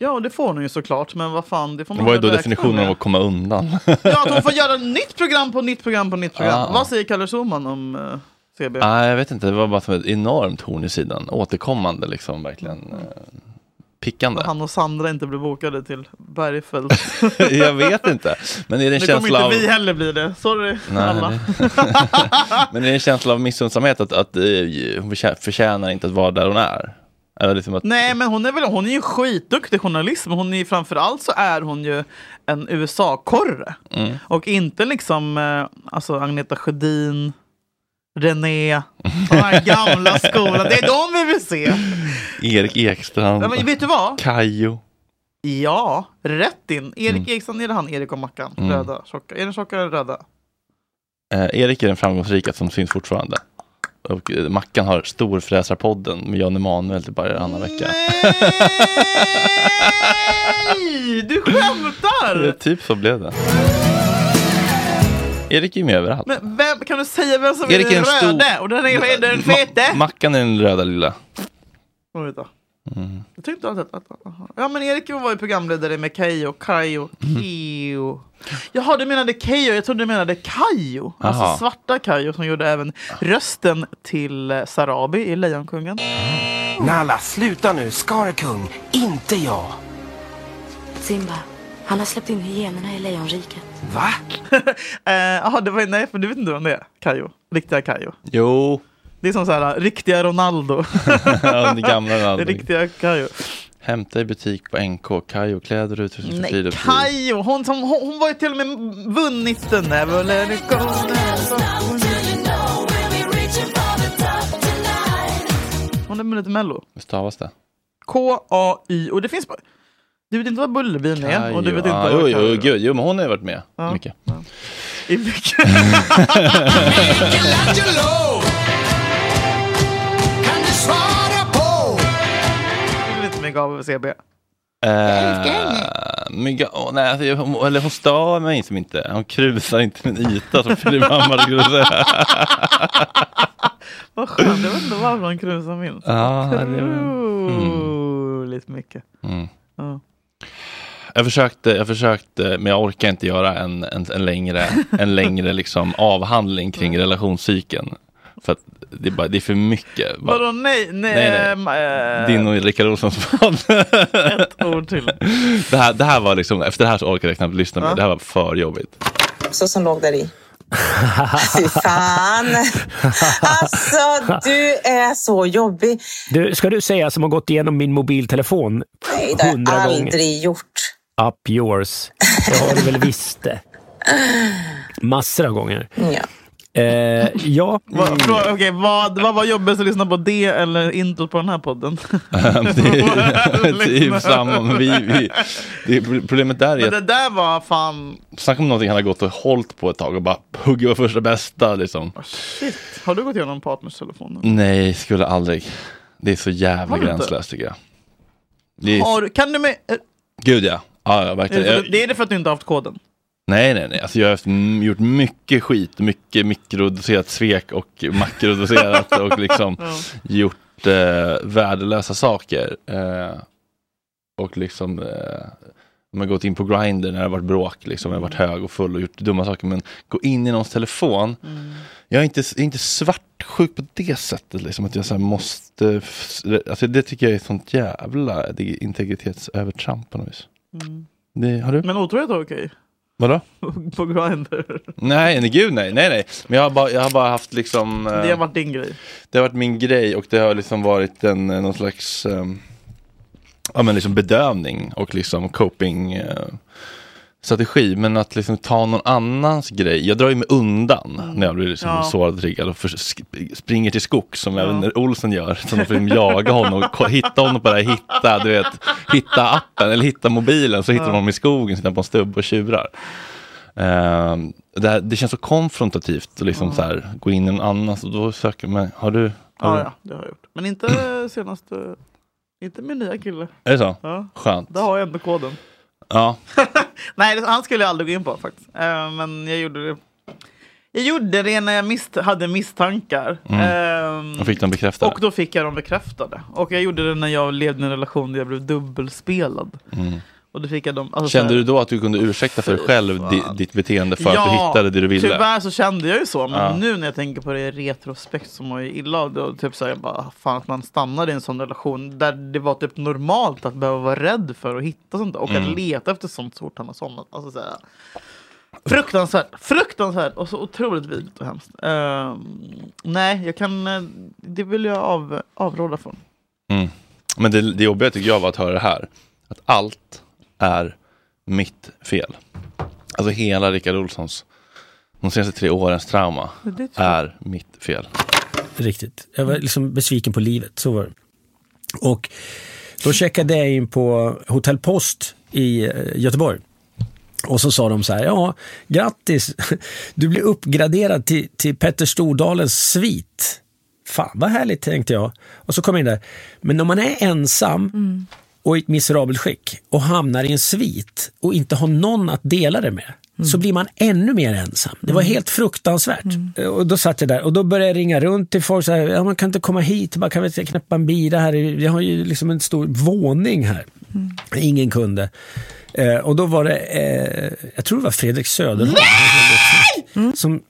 Ja, och det får hon ju såklart, men vad fan, det får man Vad är väl då räkna definitionen med. av att komma undan? Ja, att hon får göra nytt program på nytt program på nytt program. Ah. Vad säger Kalle Schulman om eh, CB? Nej, jag vet inte. Det var bara som ett enormt horn i sidan. Återkommande liksom, verkligen. eh, Pickande. Och han och Sandra inte blir bokade till Bergfeldt. jag vet inte. Men är det en det kommer känsla inte av... vi heller bli det. Sorry Nej, alla. det- Men det är en känsla av missunnsamhet att, att eh, hon förtjä- förtjänar inte att vara där hon är. Eller liksom att, Nej men hon är väl hon är ju en skitduktig journalist men hon är ju framförallt så är hon ju en USA-korre. mm. Och inte liksom eh, alltså Agneta Sjödin, René, de här gamla skolan. Det är de vi vill se. Erik Ekstrand, Ja, men vet du vad? Kajo. Ja, rätt in. Erik Eriksson, är det han Erik och Mackan? Mm. Röda, tjocka. Är den tjocka eller röda? Eh, Erik är den framgångsrika som syns fortfarande. Och eh, Mackan har Storfräsarpodden med Jan Emanuel typ varannan vecka. Nej, du skämtar! Eh, typ så blev det. Erik är ju med överallt. Men vem, kan du säga vem som Erik är den är en röde stor- och den, är, den fete? Mackan är den röda lilla. Får vi veta. Mm. Jag tyckte alltid att... att- aha. Ja men Erik var ju programledare med Keyyo, Kayo, Mm. Keyyo. Jaha du menade Keyyo, jag trodde du menade Kayo. Aha. Alltså svarta Kayo som gjorde även rösten till eh, Sarabi i Lejonkungen. Nalla, sluta nu. Skara kung, inte jag. Simba, han har släppt in hyenorna i lejonriket. Va? Eh, Jaha, det var nej för du vet inte vem det är, Kayo. Riktiga Kayo. Jo, Det är som så här, riktiga Ronaldo. Ja, den gamla Ronaldo. Riktiga Kayo. hämta i butik på NK. Kajo kläder, utrustning för Nej, friluftsliv. Kayo, hon, som, hon, hon var ju till och med vunnit den där. Never let it go. Hon är med lite mello. Hur stavas det? K-A-Y. Och det finns bara... Du vet inte vad Bullerbyn är och du vet inte ah, vad jo, Kayo jo, är. gud, jo, men hon har ju varit med Ja. mycket. I mycket. Michelangelo! Kan du svara på? Det är lite mycket av CB. Eh, mygga, åh, nej, alltså, jag- hon, eller hon stavar mig som inte. Hon krusar inte min yta som Filip Hammar skulle säga. Vad skönt, jag vet inte varför han krusar min. Ja, det är väl- Otroligt mycket. Mm. Ja. Jag försökte, jag försökte, men jag orkar inte göra en, en, en längre, en längre liksom avhandling Mm. kring relationscykeln. För att det är, bara, det är för mycket. Bara, Vadå nej? Nej, Nej, nej. ehm, eh, Din och Rickard Olssons podd. ett ord till. Det här, det här var liksom, efter det här så orkade jag knappt lyssna mer. Ja. Det här var för jobbigt. Så som låg där i. Fy fan. Alltså, du är så jobbig. Du, ska du säga som har gått igenom min mobiltelefon Nej, det har jag hundra gånger? aldrig gjort. Up yours. Det har du väl visst det. Massor av gånger. Ja. Eh, ja. Vad- frå- Okej, vad, vad var jobbigast att lyssna på? Det eller introt på den här podden? det är, det är ju samma, men vi, vi, det är, problemet där är Liksom. Men det att där var fan... Snacka om någonting han har gått och hållit på ett tag och bara hugga på första bästa liksom. oh, Shit. Har du gått igenom partners telefon? Nej, skulle aldrig. Det är så jävla Har du inte? gränslöst tycker jag. Det är, Har, du- kan du med... eh, Gud ja. Ja, ja verkligen. är det för- Jag, Det är det för att du inte har haft koden? nej, nej, nej. Alltså, jag har haft, mm, gjort mycket skit. Mycket mikrodoserat svek och makrodoserat och liksom Ja. gjort eh, värdelösa saker. Eh, och liksom eh, man har gått in på Grindr när det har varit bråk, liksom, jag har varit hög och full och gjort dumma saker. Men gå in i någons telefon. Jag är inte, jag är inte svartsjuk på det sättet. Liksom, att jag så här måste, alltså, det tycker jag är ett sånt jävla det är integritetsövertramp på något vis. Det, har du? Men otroligt var okej. Vadå? På Grindr. Nej, nej, gud nej, nej, nej. Men jag har bara, jag har bara haft liksom... eh, Det har varit din grej. det har varit min grej och det har liksom varit en, eh, någon slags ehm, ja, men liksom bedövning och liksom coping eh, strategi. Men att liksom ta någon annans grej. Jag drar ju mig undan när jag blir liksom Ja. sårad och triggad och för, sk- springer till skog som även Olsen gör. Som de försöker jaga honom och ko- hitta honom på det här, hitta, du vet, hitta appen eller hitta mobilen. Så hittar Ja. de honom i skogen, sitter på en stubbe och tjurar. Ehm, det, här, det känns så konfrontativt att liksom så här, gå in i någon annans och då söker man, har du? Har du? Ja, Ah, ja, det har jag gjort. Men inte senaste... Inte min nya kille. Är det så? Ja. Skönt. Där har jag ändå koden. Ja. Nej, det- han skulle jag aldrig gå in på faktiskt. Eh, Men jag gjorde det. Jag gjorde det när jag misst- hade misstankar. Mm. Ehm, Och fick de bekräftade? Och då fick jag dem bekräftade. Och jag gjorde det när jag levde i en relation där jag blev dubbelspelad. Mm. Och då fick jag dem... alltså, Kände så här- du då att du kunde ursäkta för dig själv di, ditt beteende för att du Ja, hittade det du ville? Tyvärr så kände jag ju så, men Ja. nu när jag tänker på det i retrospekt så mår jag illa av det. Och typ så här, jag bara, fan att man stannade i en sån relation där det var typ normalt att behöva vara rädd för att hitta sånt där, och Mm. att leta efter sånt så fort han har somnat. Alltså, så här, fruktansvärt, fruktansvärt och så otroligt vidrigt och hemskt. Ehm, nej, jag kan, eh, det vill jag av, avråda från. Mm. Men det, det jobbiga tycker jag var att höra det här. Att allt är mitt fel. Alltså hela Rickard Olssons, de senaste tre årens trauma Det tror jag. är mitt fel. Riktigt. Jag var liksom besviken på livet, så var det. Och då checkade jag in på Hotell Post i eh, Göteborg. Och så sa de så här, ja, grattis, du blir uppgraderad till, till Petter Stordalens svit. Fan vad härligt tänkte jag. Och så kom jag in där. Men om man är ensam och i ett miserabelt skick och hamnar i en svit och inte har någon att dela det med så blir man ännu mer ensam. Det var helt fruktansvärt. Och då satt jag där och då började jag ringa runt till folk. Så här, ja, man kan inte komma hit, man kan väl knäppa en bira här. Jag har ju liksom en stor våning här. Ingen kunde. Eh, och då var det, eh, jag tror det var Fredrik Söderholm som,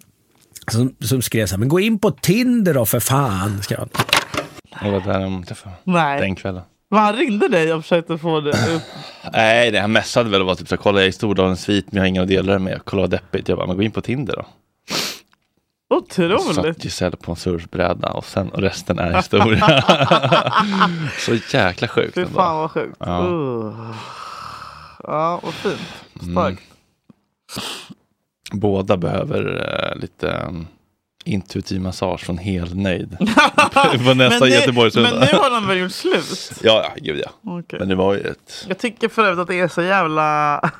som, som skrev så här, men gå in på Tinder då för fan. Skrev han. Det var där de träffade Nej. den kvällen. Men han ringde dig och försökte få det upp. Nej, det han messade väl och var typ så här, kolla jag är i Stordalens svit men jag har ingen att dela det med. Kolla vad deppigt. Jag bara, men gå in på Tinder då. Så Otroligt. satt Giselle på en surfbräda och, sen, och resten är historia. så jäkla sjukt. Fy ändå. fan vad sjukt. Ja. Uh. Ja, vad fint. Mm. Båda behöver eh, lite um, intuitiv massage från helnöjd. på nästa men, nu, Göteborgsrunda. men nu har de väl gjort slut? Ja, ja, gud ja. Okej. Men det var ju ett... Jag tycker för övrigt att det är så jävla...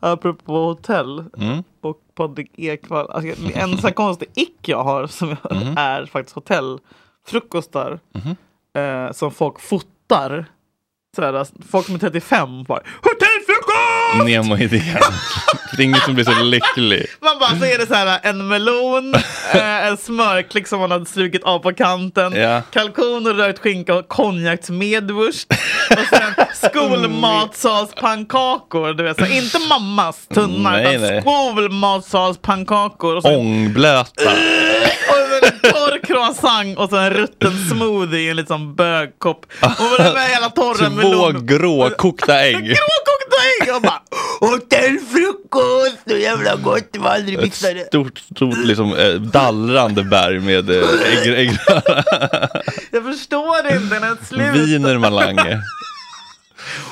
Apropå hotell Mm. och Patrik Ekwall. Alltså, det enda konstig ick jag har som jag Mm. är faktiskt hotellfrukostar Mm-hmm. eh, som folk fotar. Sådär, alltså, folk som är 35 bara Nemo-idén. det är ingen som blir så lycklig. Man bara, så är det så här en melon, eh, en smörklick som man hade strukit av på kanten, Ja. kalkon och rökt skinka och konjaksmedvurst. Och sen skolmatsalspannkakor, du vet, så här, inte mammas tunna Nej, nej. utan skolmatsalspannkakor. Och sen, Ångblöta. och sen en torr croissant och sen en rutten smoothie i en liksom bögkopp. Och den där jävla torra Två melonen. gråkokta ägg. Gråkokta ägg! Och bara, hotellfrukost! Så jävla gott, det var aldrig Ett missade. stort, stort liksom, eh, dallrande berg med eh, ägg, äggröra. Jag förstår inte, den är slut. Wiener Malange.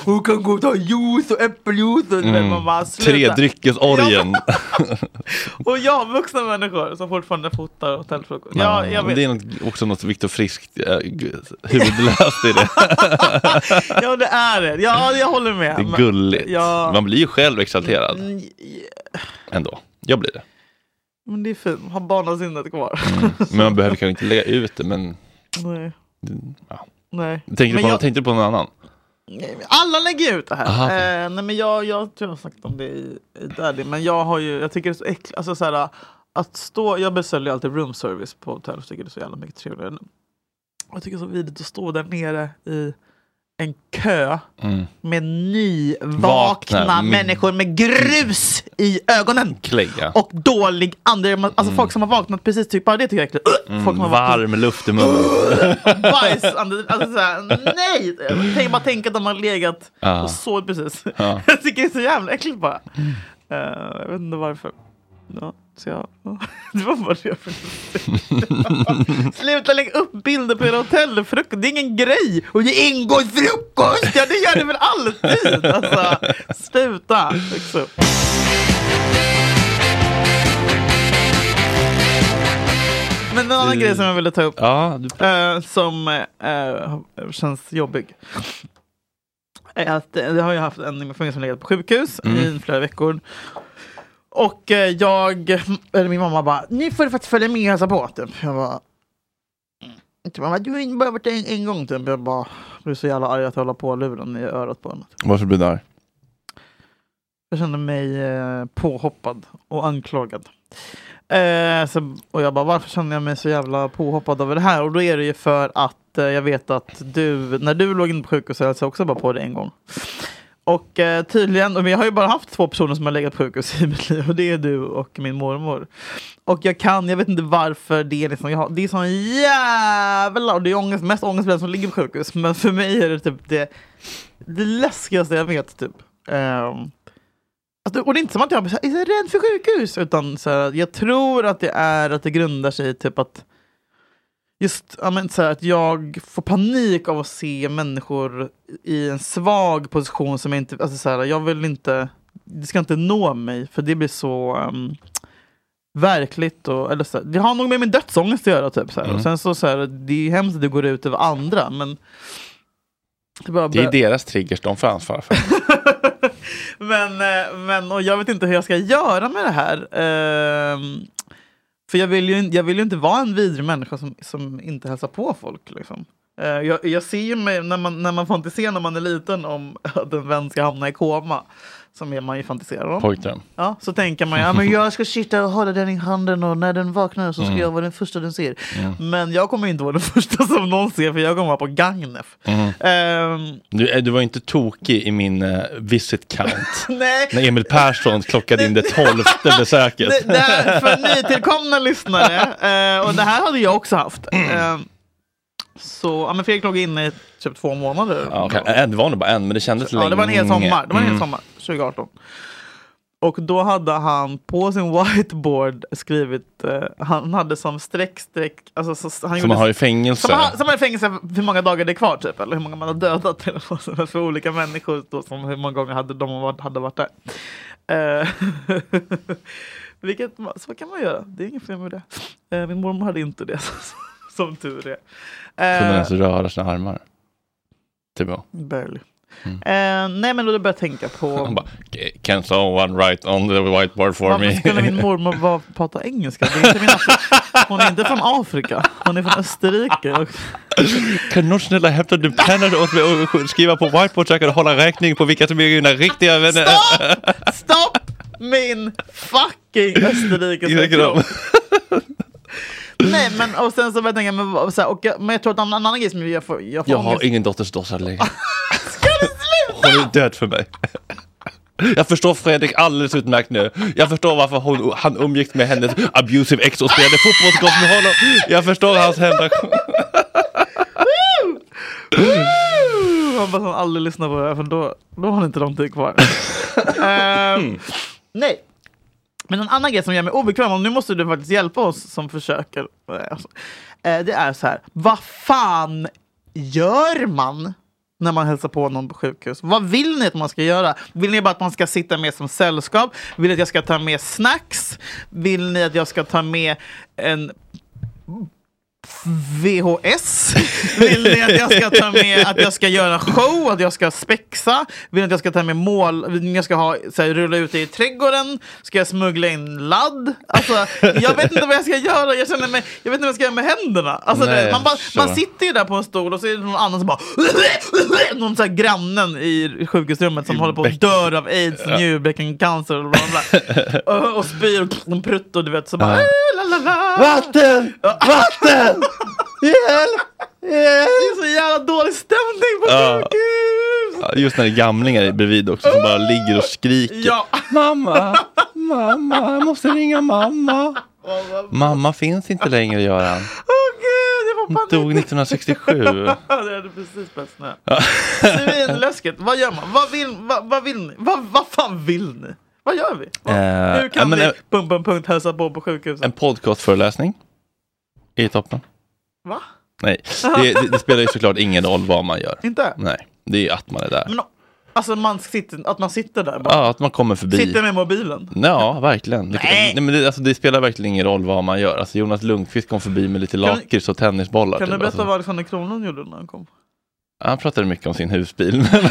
Hon kan gå och ta juice och äppeljuice. och du vet, Mm. man bara, sluta. Tredryckesorgen. Och jag har vuxna människor som fortfarande fotar hotellfrukost. Ja, jag men det är vet. något, också något Viktor Friskt äh, huvudlöst i det. Ja, det är det. Ja, jag håller Det med. Men- är alltså. gulligt. Ja. Man blir ju själv exalterad Mm, ändå. Jag blir det. Mm. Men det är fint. Har barnasinnet kvar. Men man behöver kanske inte lägga ut det. Men, Nej. ja. Nej. tänkte, du Men på, jag- tänkte du på någon annan? Nej, men Alla lägger ju ut det här. Aha, okej. eh, nej, men jag, jag tror jag har sagt om det i, i Daddy. Men jag har ju, jag tycker det är så äckligt. Alltså, så här, att stå, jag beställer ju alltid room service på hotell. Jag tycker det är så jävla mycket trevligare. Och Jag tycker det är så vidrigt att stå där nere i en kö Mm. med nyvakna Vakna, mm. människor med grus i ögonen. Klia. Och dålig ande. Alltså folk som har vaknat precis, typ, bara det tycker jag är äckligt. Mm, Folk som har vaknat varm luft i munnen. bajsande. Alltså såhär, nej! Tänk, bara tänk att de har legat Ja. och sovit precis. Ja. Jag tycker det är så jävla äckligt bara. Eh, jag vet inte varför. Ja, så jag, det var bara det jag försökte. Sluta lägga upp bilder på era hotellfrukost. Det är ingen grej att ge ingå i frukost. Ja, det gör det väl alltid. Alltså, sluta. Liksom. Men en annan Du- grej som jag ville ta upp. Ja, eh, som eh, känns jobbig. Är att, eh, jag har ju haft en i min familj som legat på sjukhus i flera veckor. Och eh, jag, eller min mamma bara, nu får du faktiskt följa med och hälsa på. Typ. Jag bara, typ, mamma, du har ju bara varit en, en gång typ. Jag bara, blev så jävla arg att jag håller på luren i örat på typ. henne. Varför blir du arg? Jag kände mig eh, påhoppad och anklagad. Eh, så, och jag bara, varför känner jag mig så jävla påhoppad över det här? Och då är det ju för att eh, jag vet att du, när du låg inne på sjukhus så hälsade jag också bara på dig en gång. Och eh, tydligen, men jag har ju bara haft två personer som har legat på sjukhus i mitt liv och det är du och min mormor. Och jag kan, jag vet inte varför det är liksom, jag har, det är sån jävla, och det är ångest, mest ångest för den som ligger på sjukhus. Men för mig är det typ det, det läskigaste jag vet typ. Ehm, Alltså, och det är inte som att jag är så här, "Jag är rädd för sjukhus, utan så här, jag tror att det är att det grundar sig i typ att just ja, men, så här, att jag får panik av att se människor i en svag position som jag inte, alltså så här, jag vill inte, det ska inte nå mig för det blir så ehm, verkligt och, eller så här, det har nog med min dödsångest att göra typ så här. Mm. Och sen så, så här, det är ju hemskt att det går ut över andra men bara Det är bör- deras triggers de får ansvara för. men, eh, men och jag vet inte hur jag ska göra med det här. Ehm, för jag vill, ju, in- jag vill ju inte vara en vidrig människa som, som inte hälsar på folk. Liksom. Eh, jag, jag ser ju mig, när man, när man fantiserar när man är liten om att en vän ska hamna i koma, som är man ju fantiserar om. Pojkdröm. Ja, så tänker man ja, men jag ska sitta och hålla den i handen och när den vaknar så ska Mm. jag vara den första den ser. Mm. Men jag kommer inte vara den första som någon ser för jag kommer vara på Gagnef. Mm. Ehm, Du, eh, du var ju inte tokig i min eh, visit count. nej, När Emil Persson klockade in det tolfte besöket. Det, det här, för nytillkomna lyssnare, eh, och det här hade jag också haft. Mm. Eh, så, ja, men Fredrik låg inne i typ två månader. Ja, okej. Eh, Det var nog bara en, men det kändes länge. Ja, det var en hel sommar. Det var en hel Mm. sommar 2018. Och då hade han på sin whiteboard skrivit, eh, han hade som streck, streck, alltså så, så- han Som man har i fängelse. Som han, som han har i fängelse hur många dagar det är kvar typ, eller hur många man har dödat eller vad som helst för olika människor, då, som hur många gånger hade de varit, hade varit där. Eh, vilket, man- så kan man göra, det är inget fel med det. Eh, min mormor hade inte det, som tur är. Eh, Kunde ens röra sina armar. Typ ja. Barely. Mm. Eh, nej men då började jag tänka på Han bara, "K- can someone write on the whiteboard for Varför me? skulle min mormor vara, prata engelska? Det är inte min afri- hon är inte från Afrika, hon är från Österrike. Och Kan någon snälla hämta en penna åt mig och skriva på whiteboard så jag kan hålla räkning på vilka som är mina riktiga vänner? stopp min fucking österrikiska Tycker du kropp! om? Nej men och sen så började jag tänka, men, vad- så här, och, jag- men jag tror att en annan grej som jag får, jag får Jag har ångest- ingen dotter som står längre. Hon är död för mig. Jag förstår Fredrik alldeles utmärkt nu. Jag förstår varför hon, han umgicks med hennes abusive ex och spelade fotbollsgolf med honom. Jag förstår hans hämnd. Woo! Hoppas han aldrig lyssnar på det här för då, då har han inte lång tid kvar. Ehm, nej. Men en annan grej som gör mig obekväm, och nu måste du faktiskt hjälpa oss som försöker. eh, Alltså, eh, det är så här, vad fan gör man när man hälsar på någon på sjukhus? Vad vill ni att man ska göra? Vill ni bara att man ska sitta med som sällskap? Vill ni att jag ska ta med snacks? Vill ni att jag ska ta med en VHS? Vill ni att jag ska ta med att jag ska göra show, att jag ska spexa? Vill ni att jag ska ta med mål, vill ni att jag ska ha, så här, rulla ut det i trädgården? Ska jag smuggla in ladd? Alltså, jag vet inte vad jag ska göra, jag känner mig, jag vet inte vad jag ska göra med händerna. Alltså, Nej, det, man, jag bara, förstår. man sitter ju där på en stol och så är det någon annan som bara någon så här grannen i sjukhusrummet som håller på att dör av aids, Ja. njurbäckencancer och bla bla bla. och, och spyr och prutt och du vet så bara "Äh, Ja. la, la, la. Vatten! Vatten! Hjälp! Det är så jävla dålig stämning på Ja. sjukhus. Ja, Just när det är gamlingar bredvid också som bara ligger och skriker. Ja. Mamma, mamma, jag måste ringa mamma. Mamma finns inte längre Göran. Det Hon dog 1967. det hade precis börjat snö. Svinläskigt. Vad gör man? Vad vill, vad, vad vill ni? Vad, vad fan vill ni? Vad gör vi? Eh, Hur kan ja, men, vi eh, pum, pum, punkt, hälsa på på sjukhuset? En podcastföreläsning i toppen. Va? Nej, det, det, det spelar ju såklart ingen roll vad man gör. Inte? Nej, det är ju att man är där. Men, alltså man sitter, att man sitter där bara. Ja, att man kommer förbi. Sitter med mobilen. Ja, verkligen. Det, nej. men det, alltså, det spelar verkligen ingen roll vad man gör. Alltså, Jonas Lundqvist kom förbi med lite lakrits och tennisbollar. Kan du typ. berätta alltså, vad Alexander Kronlund gjorde när han kom? Han pratade mycket om sin husbil. men-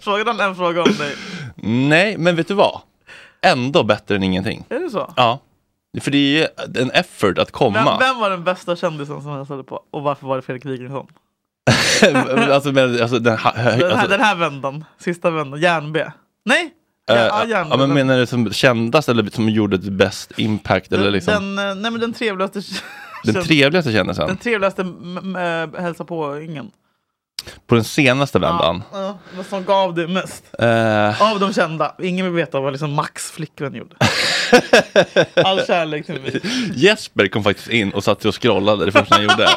Frågade han en fråga om dig? nej, men vet du vad? Ändå bättre än ingenting. Är det så? Ja, för det är ju en effort att komma. Vem, vem var den bästa kändisen som hälsade på? Och varför var det Fredrik Wikingsson? alltså, men, alltså, den, ha- hö- Den, här, alltså, den här vändan, sista vändan, järn-B. Nej! Ja, eh, ja, järn ja, men menar du som kändast eller som gjorde ett bäst impact? eller liksom, den, den, eh, nej men den trevligaste trevligaste kändisen? Den trevligaste m- m- eh, hälsa på-ingen. på den senaste vändan? Ja, vad som gav dig mest. Eh, Av de kända. Ingen vill veta vad liksom Max flickvän gjorde. All kärlek till mig. Jesper kom faktiskt in och satt sig och scrollade det första han gjorde.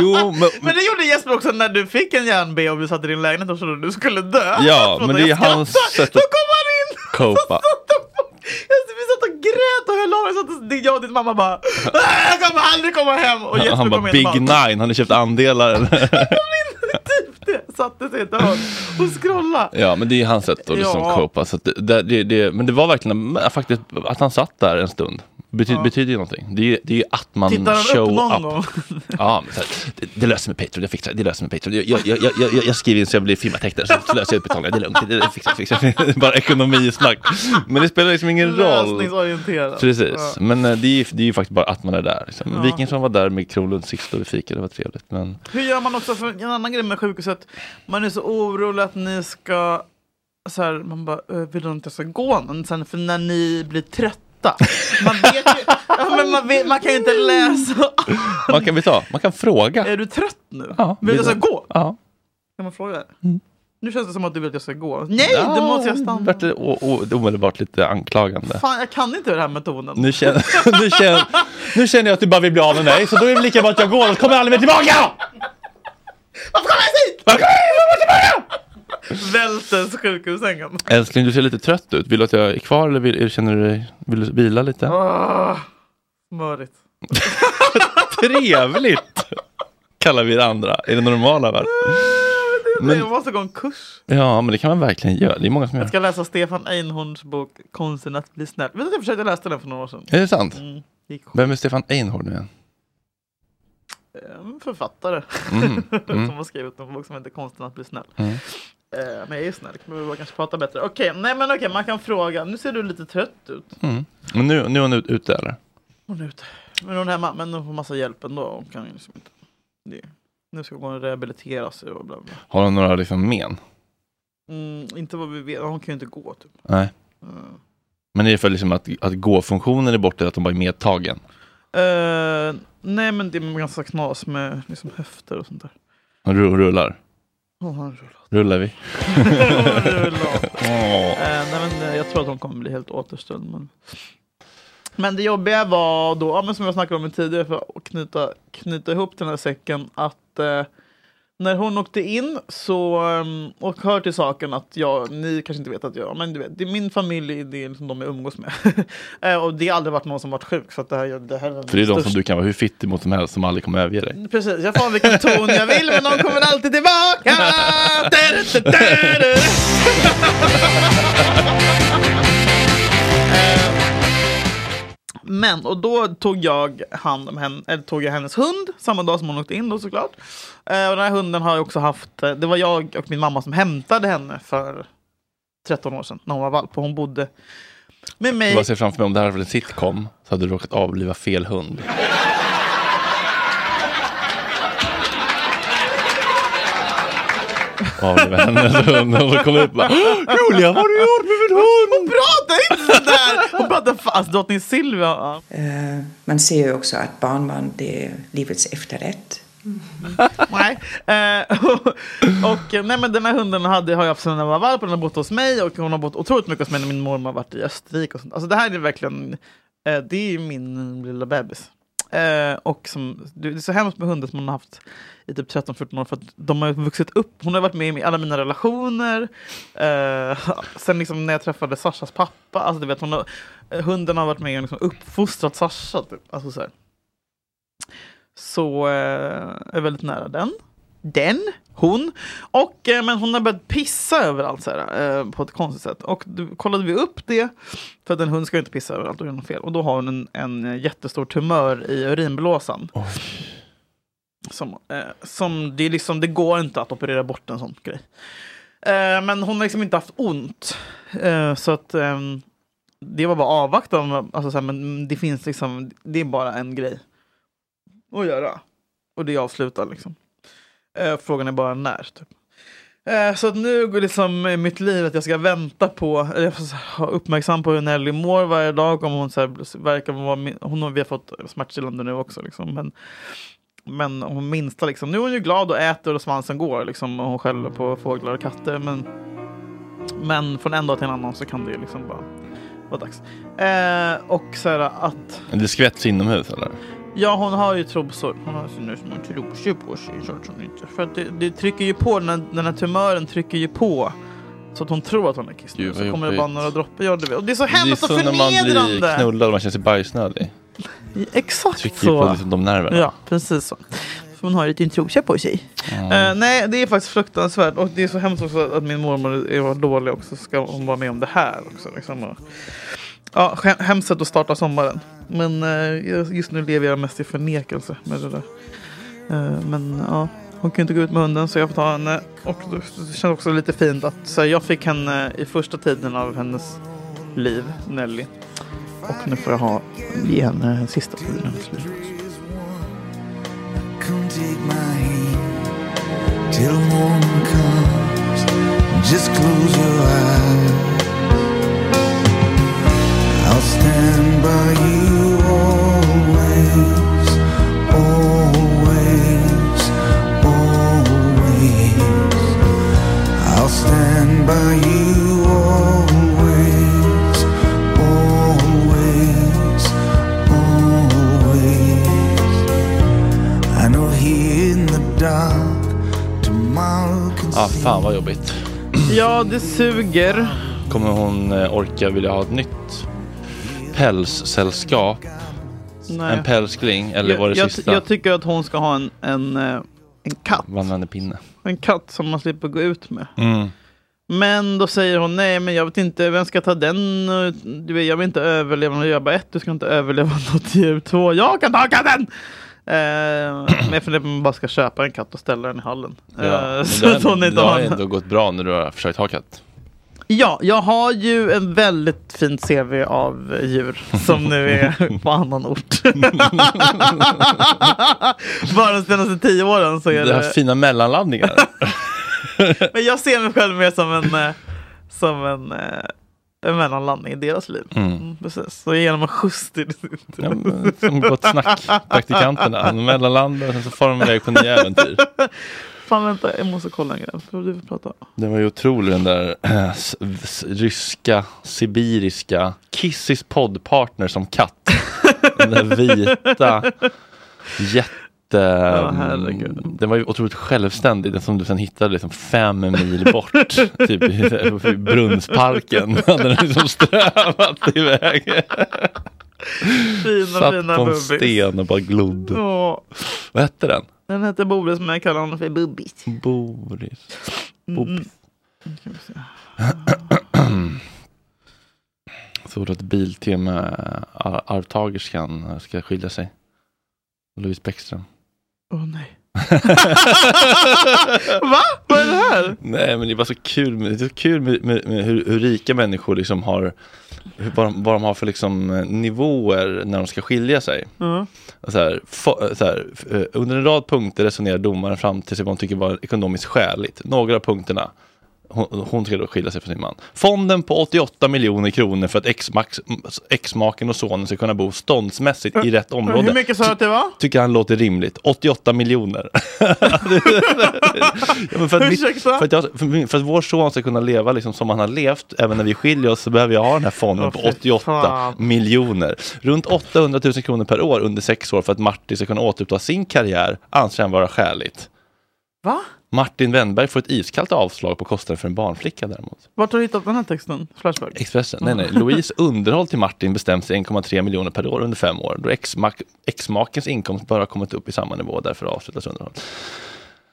Jo, men, Men det gjorde Jesper också när du fick en järn-B och du satt i din lägenhet och trodde att du skulle dö. ja, Förlåt, men det är ju jag skrattar. hans sätt att copa. Vi satt och grät och höll av oss. satt och- Jag och din mamma bara "Ah, Jag kommer aldrig komma hem! Och Jesper Han, han kom bara, in Big och bara Nine, har ni köpt andelar? eller?" "Det", satte sig i ett hörn och scrollade. ja, men det är ju hans sätt att liksom Ja. copa. Så att det- det, det, det, men det var verkligen, men faktiskt, att han satt där en stund. Bety, Ja. Betyder ju någonting. Det är ju, det är ju att man Tittar han show upp någon up. gång? Ja, men så här, det, det löser mig Patreon, jag fixar det, det löser mig Patreon. Jag, jag, jag, jag- jag, jag skriver in så jag blir firmatecknare, så så löser jag utbetalningar, det är lugnt, det, det fixar fixar. Det är Bara ekonomisnack. Men det spelar liksom ingen roll. Lösningsorienterad. Precis, Ja. men eh, det är, ju, det är ju faktiskt bara att man är där. Liksom. Ja. Wikingsson var där med Kronlund sist och vi fikade, det var trevligt. Men Hur gör man också, för en annan grej med sjukhuset, man är så orolig att ni ska, så här, man bara, "Eh, vill du inte att jag ska gå någon? Sen, för när ni blir trötta, man vet ju, ja, men man, vet, man kan ju inte läsa. man kan, vi ta, man kan fråga. Är du trött nu? Ja, vill du att vill jag ska gå? Ja. Kan man fråga? Nu känns det som att du vill att jag ska gå. Nej, då måste jag stanna. Vart det o- o- omedelbart lite anklagande. Fan, jag kan inte den här metoden. Nu känner, nu, känner, nu känner jag att du bara vill bli av med mig, så då är det lika bra att jag går, och kommer jag aldrig mer tillbaka! Varför kommer jag hit? Varför Vältens sjukhussängen. Älskling, du ser lite trött ut. Vill du att jag är kvar eller vill, känner du dig, vill du vila lite? Ah, Mörigt. Trevligt! Kallar vi det andra i den normala världen. Men- Jag måste gå en kurs. Ja, men det kan man verkligen göra. Det är många som Jag gör. ska läsa Stefan Einhorns bok Konsten att bli snäll. Vet du, jag försökte läsa den för några år sedan. Är det sant? Mm. Gick skit. Vem är Stefan Einhorn nu igen? Ehm, Författare Mm, mm. som har skrivit en bok som heter Konsten att bli snäll. Mm. Eh, Men jag är ju snäll, men vi bara kanske prata bättre. Okej, nej men okej, man kan fråga. Nu ser du lite trött ut. Mm. Men nu, nu är hon ut- ute eller? Hon är ute. Men hon är hemma, men hon får massa hjälp ändå. Hon kan ju liksom inte. Det. Nu ska hon rehabilitera sig och bla bla. Har hon några liksom men? Mm, inte vad vi vet, hon kan ju inte gå typ. Nej. Mm. Men är det för liksom att, att gå-funktionen är borta, att de bara är medtagen? Eh, nej men det är ganska knas med liksom höfter och sånt där. Hon ru- rullar? Hon har en rull. Rullar vi? Eh, Åh. nej, men eh, jag tror att hon kommer bli helt återställd. Men... men det jobbiga var då, ja, men som jag snackade om tidigare, för att knyta, knyta ihop den här säcken, att eh, när hon åkte in så, ehm, och hör till saken att jag, ni kanske inte vet att jag, men du vet, det är min familj, det är liksom de jag umgås med. Eh, och det har aldrig varit någon som varit sjuk. Så att det här, det här För det är de som största- du kan vara hur fittig mot som helst som aldrig kommer överge dig. Precis, jag får vilken ton jag vill men de kommer alltid tillbaka! Da-da-da-da-da. Eh, Men, och då tog jag hand om henne, eller tog jag hennes hund samma dag som hon åkte in då såklart. Eh, Och den här hunden har jag också haft, eh, det var jag och min mamma som hämtade henne för 13 år sedan när hon var valp. Och hon bodde med mig. Vad ser jag framför mig om det här var en sitcom så hade du råkat avliva fel hund. av vänner. Så När de kommer upp bara, Julia, vad har du gjort med min hund? Hon pratar inte sådär! Hon pratar fast drottning Silvia. Ja. Eh, Man ser ju också att barnbarn, det är livets efterrätt. Nej. Eh, och, och, nej men den här hunden hade, har jag haft sedan den var valp, och den har bott hos mig och hon har bott otroligt mycket hos mig när min mormor har varit i Österrike. Och sånt. Alltså det här är verkligen, eh, det är ju min lilla bebis. Eh, och som, det är så hemskt med hundar som man har haft i typ 13-14 år för att de har vuxit upp. Hon har varit med i alla mina relationer. Eh, sen liksom när jag träffade Sashas pappa, alltså du vet, hon har, eh, hunden har varit med och liksom uppfostrat Sasha. Typ. Alltså, så här. Så eh, jag är väldigt nära den. Den, hon. Och, eh, men hon har börjat pissa överallt så här, eh, på ett konstigt sätt. Och då kollade vi upp det, för att en hund ska ju inte pissa överallt och göra något fel. Och då har hon en, en jättestor tumör i urinblåsan. Som, eh, som det, är liksom, det går inte att operera bort en sån grej. Eh, men hon har liksom inte haft ont. Eh, så att ehm, det var bara avvakta. om- Alltså, så här, men det finns liksom, det är bara en grej att göra. Och det är avslutat liksom. Eh, frågan är bara när. Typ. Eh, så att nu går liksom i mitt liv att jag ska vänta på, eller jag får vara uppmärksam på hur Nelly mår varje dag. Om hon så här, verkar vara, min- hon har, vi har fått smärtstillande nu också. Liksom, men, men hon minsta liksom, nu är hon ju glad och äter och svansen går liksom. Och hon skäller på fåglar och katter. Men, men från en dag till en annan så kan det ju liksom bara vara dags. Eh, och så här att Men Det skvätts inomhus eller? Ja, hon har ju trosor. Hon har sina små trosor på sig. Så att hon inte, för att det, det trycker ju på, den här, den här tumören trycker ju på. Så att hon tror att hon är Gud, kissnödig. vad Så kommer det bara jobbigt. några droppar. Ja, du vet. Och det är så Det är hemskt så och när man blir förnedrande! knullad och man känner sig bajsnödig. Exakt Trycker ju så. på liksom de nerverna. Ja, precis så. För hon har ju lite trosa på sig. Eh, nej, det är faktiskt fruktansvärt. Och det är så hemskt också att min mormor är- var dålig också. Så ska hon vara med om det här också. Liksom. Och, ja, skä- hemskt sätt att starta sommaren. Men eh, just nu lever jag mest i förnekelse med det där. Eh, men ja, hon kan ju inte gå ut med hunden så jag får ta henne. Och det känns också lite fint att så här, jag fick henne i första tiden av hennes liv, Nelly. Och nu får jag ha, ge henne sista tiden av hennes liv. Come take my hand till morning comes. Just close your eyes. I'll stand by you always, always, always. I'll stand by you always, always, always. I know here in the dark, tomorrow can Ah, fan vad jobbigt. Ja, det suger. Kommer hon eh, orka vilja ha ett nytt pälssällskap? Nej. En pälskling eller jag, var det jag, sista? Jag tycker att hon ska ha en, en, eh, en katt. Vandvändepinne. En katt som man slipper gå ut med. Mm. Men då säger hon nej, men jag vet inte, vem ska ta den? Och Du vet, jag vill inte överleva. Jag bara, ett, du ska inte överleva något djur. Två, jag kan ta katten! Eh, men jag funderar på om man bara ska köpa en katt och ställa den i hallen. Ja, Eh, men så det att hon har- inte det har har en- ändå gått bra när du har försökt ha katt. Ja, jag har ju en väldigt fint CV av eh, djur som nu är på annan ort. Bara de senaste tio åren så är Det det... har fina mellanlandningar. Men jag ser mig själv mer som en, eh, som en, eh, en mellanlandning i deras liv. Mm. precis. Så genom en skjuts till Ja, men som Gott Snack, praktikanterna. De mellanlandar och sen så far de iväg på nya äventyr. Fan vänta, jag måste kolla en grej. Får du prata? Den var ju otrolig den där eh, s- s- ryska, sibiriska, Kissis poddpartner som katt. Den där vita jätte... mm, den var ju otroligt självständig, den som du sen hittade liksom fem mil bort. typ i- i Brunnsparken. Den hade liksom strövat iväg. Fina, Satt fina på en Bubbis. sten och bara glodde. Ja. Vad hette den? Den heter Boris men jag kallar honom för Bubbis. Mm. Boris. Mm. Så att Biltema, eh, ar- arvtagerskan, ska skilja sig. Louise Bäckström. Åh nej. Va? Vad är det här? Nej, men det är bara så kul med, det är så kul med, med, med hur, hur rika människor liksom har, hur, vad, de, vad de har för liksom eh, nivåer när de ska skilja sig. Mm. Så här, fa- så här, f- eh, under en rad punkter resonerar domaren fram till sig vad hon tycker var ekonomiskt skäligt. Några av punkterna. Hon, hon ska då skilja sig från sin man. Fonden på 88 miljoner kronor för att ex-max- ex-maken och sonen ska kunna bo ståndsmässigt i rätt område. Hur mycket sa du att det var? Tycker han låter rimligt. 88 miljoner. ja, men för, att mitt, Ursäkta? för, att jag, för, min- för att vår son ska kunna leva liksom som han har levt, även när vi skiljer oss, så behöver jag ha den här fonden Åh, på fy 88 fan. miljoner. Runt 800 000 kronor per år under sex år för att Martin ska kunna återuppta sin karriär anser han vara skäligt. Va? Martin Wennberg får ett iskallt avslag på kostnaden för en barnflicka däremot. Vart har du hittat den här texten? Flashback? Expressen. Nej, nej. Louise underhåll till Martin bestäms till 1,3 miljoner per år under fem år. Då ex-mak- ex-makens inkomst bara har kommit upp i samma nivå, därför avslutas underhåll.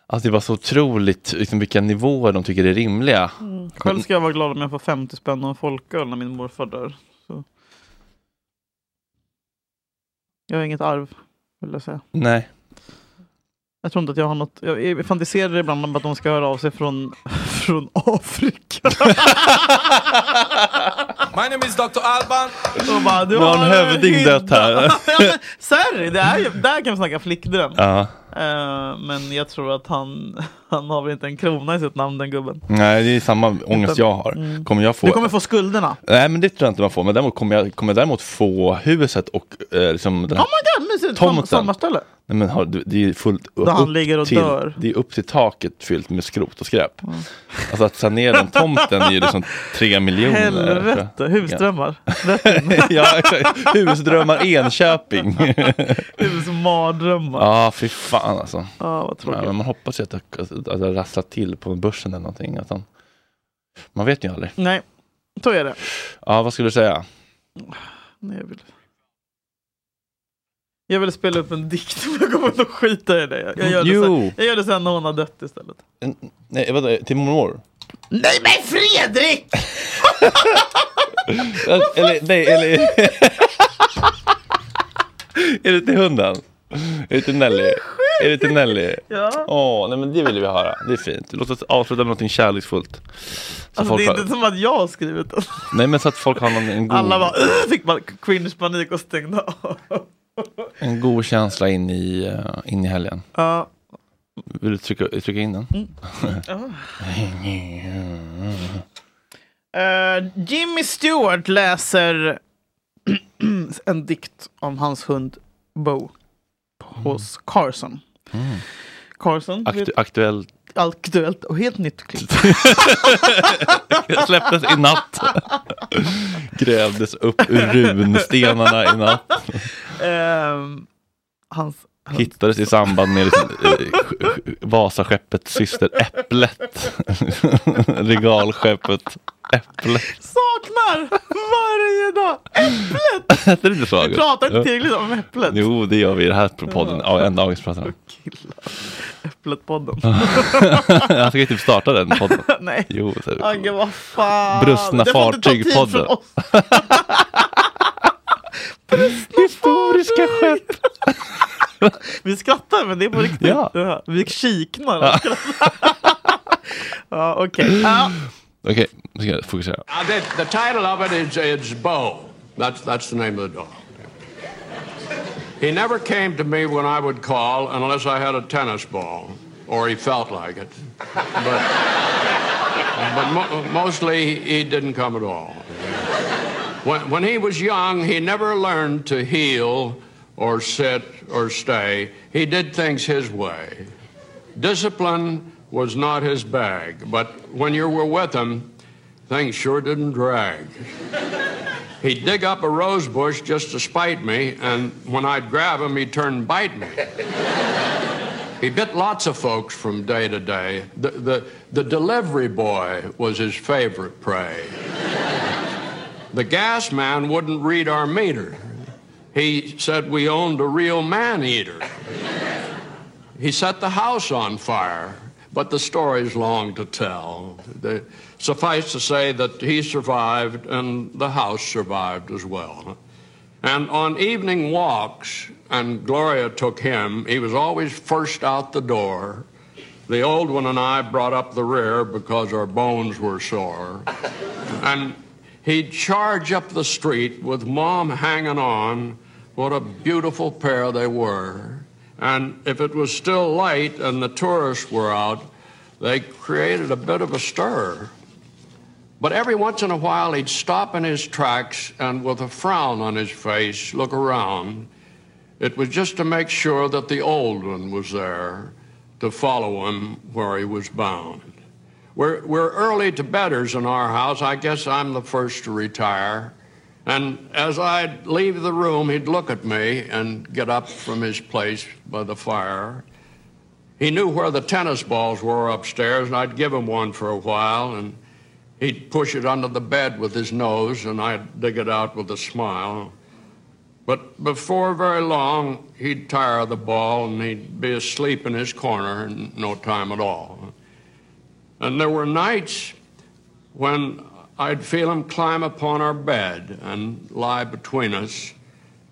Alltså det var så otroligt liksom, vilka nivåer de tycker är rimliga. Mm. Själv ska jag vara glad om jag får 50 spänn och en folköl när min morfar dör. Så. Jag har inget arv, vill jag säga. Nej. Jag tror inte att jag har något. Jag jag fantiserar ibland om att de ska höra av sig från, från Afrika. My name is Dr. Alban. Och bara, du Nu har en hövding hydda- dött här. ja, men, sorry, det är ju, där kan vi snacka flickdröm. Ja. Eh, men jag tror att han, han har väl inte en krona i sitt namn, den gubben. Nej, det är samma ångest jag har. Mm. Kommer jag få... Du kommer få skulderna. Nej, men det tror jag inte man får. Men däremot kommer jag, kommer jag däremot få huset och eh, liksom den Oh här... my god, mysigt! Tom, Tomten. sommarställe. Nej, men har, det är fullt Där han ligger och till, dör. Det är upp till taket fyllt med skrot och skräp. Alltså att sanera den tomten är ju liksom tre miljoner. Helvete, husdrömmar. Ja, ja exakt. Husdrömmar Enköping. Husmardrömmar. Ja, fy fan alltså. Ja, vad tråkigt. men man hoppas ju att det, att det rasslar till på börsen eller någonting. Att han, man vet ju aldrig. Nej, så är det. Ja, vad skulle du säga? Nej, jag, vill... jag vill spela upp en dikt, men jag kommer nog skita i det. Jag- Jag gör det, Jo. sen, jag gör det sen när hon har dött istället. Nej, vänta, till mormor? Nej men Fredrik! eller, nej, eller... är det till hunden? Är det till Nelly? Är det till Nelly? Ja. Åh, nej men det vill vi höra. Det är fint. Låt oss avsluta med någonting kärleksfullt. Så Alltså, folk det är har... Mm. inte som att jag har skrivit den. Nej, men så att folk har någon, en, god, Alla bara "Ugh", fick bara cringe-panik och stängde av. en god känsla in i, eh, in i helgen. Ja. Vill du trycka, trycka in den? Mm, Ja. Eh, Jimmy Stewart läser en dikt om hans hund Bo hos Carson. Mm. Carson, Aktu- vet- aktuellt. aktuellt och helt nytt klipp. Släpptes i natt. Grävdes upp ur runstenarna i natt. Ehm, hans Hittades i samband med liksom, eh, sk- sk- Vasaskeppets syster Äpplet. Regalskeppet Äpplet. saknar varje dag äpplet. Hette det inte så? Vi August? pratar inte Ja. tillräckligt om äpplet. Jo, det gör vi i den här podden. Ja, en dag pratar vi om. Äpplet-podden. Jag ska ju typ starta den podden. Nej. Ah, Jo, så är det. Agge, vad fan. Brustna Det får inte ta tid fartyg-podden. från oss. Historiska skepp. Vi skrattar, men det är på riktigt. Ja. Ja. Vi kiknar. Ja. ja, okej. Ja. Okej, nu ska jag fokusera. Now, the, the title of it is, is Bo. That's, that's the name of the dog. He never came to me when I would call unless I had a tennis ball, or he felt like it. But, but mo- mostly, he didn't come at all. When, when he was young, he never learned to heel or sit or stay. He did things his way. Discipline was not his bag, but when you were with him, things sure didn't drag. He'd dig up a rose bush just to spite me, and when I'd grab him, he'd turn and bite me. He bit lots of folks from day to day. The, the, the delivery boy was his favorite prey. The gas man wouldn't read our meter. He said we owned a real man eater. He set the house on fire, but the story's long to tell. The- suffice to say that he survived and the house survived as well. And on evening walks, and Gloria took him, he was always first out the door. The old one and I brought up the rear because our bones were sore. And he'd charge up the street with mom hanging on. What a beautiful pair they were. And if it was still light and the tourists were out, they created a bit of a stir. But every once in a while, he'd stop in his tracks and, with a frown on his face, look around. It was just to make sure that the old one was there to follow him where he was bound. We're, we're early to bedders in our house. I guess I'm the first to retire. And as I'd leave the room, he'd look at me and get up from his place by the fire. He knew where the tennis balls were upstairs, and I'd give him one for a while, and he'd push it under the bed with his nose, and I'd dig it out with a smile. But before very long, he'd tire of the ball, and he'd be asleep in his corner in no time at all. And there were nights when I'd feel him climb upon our bed and lie between us,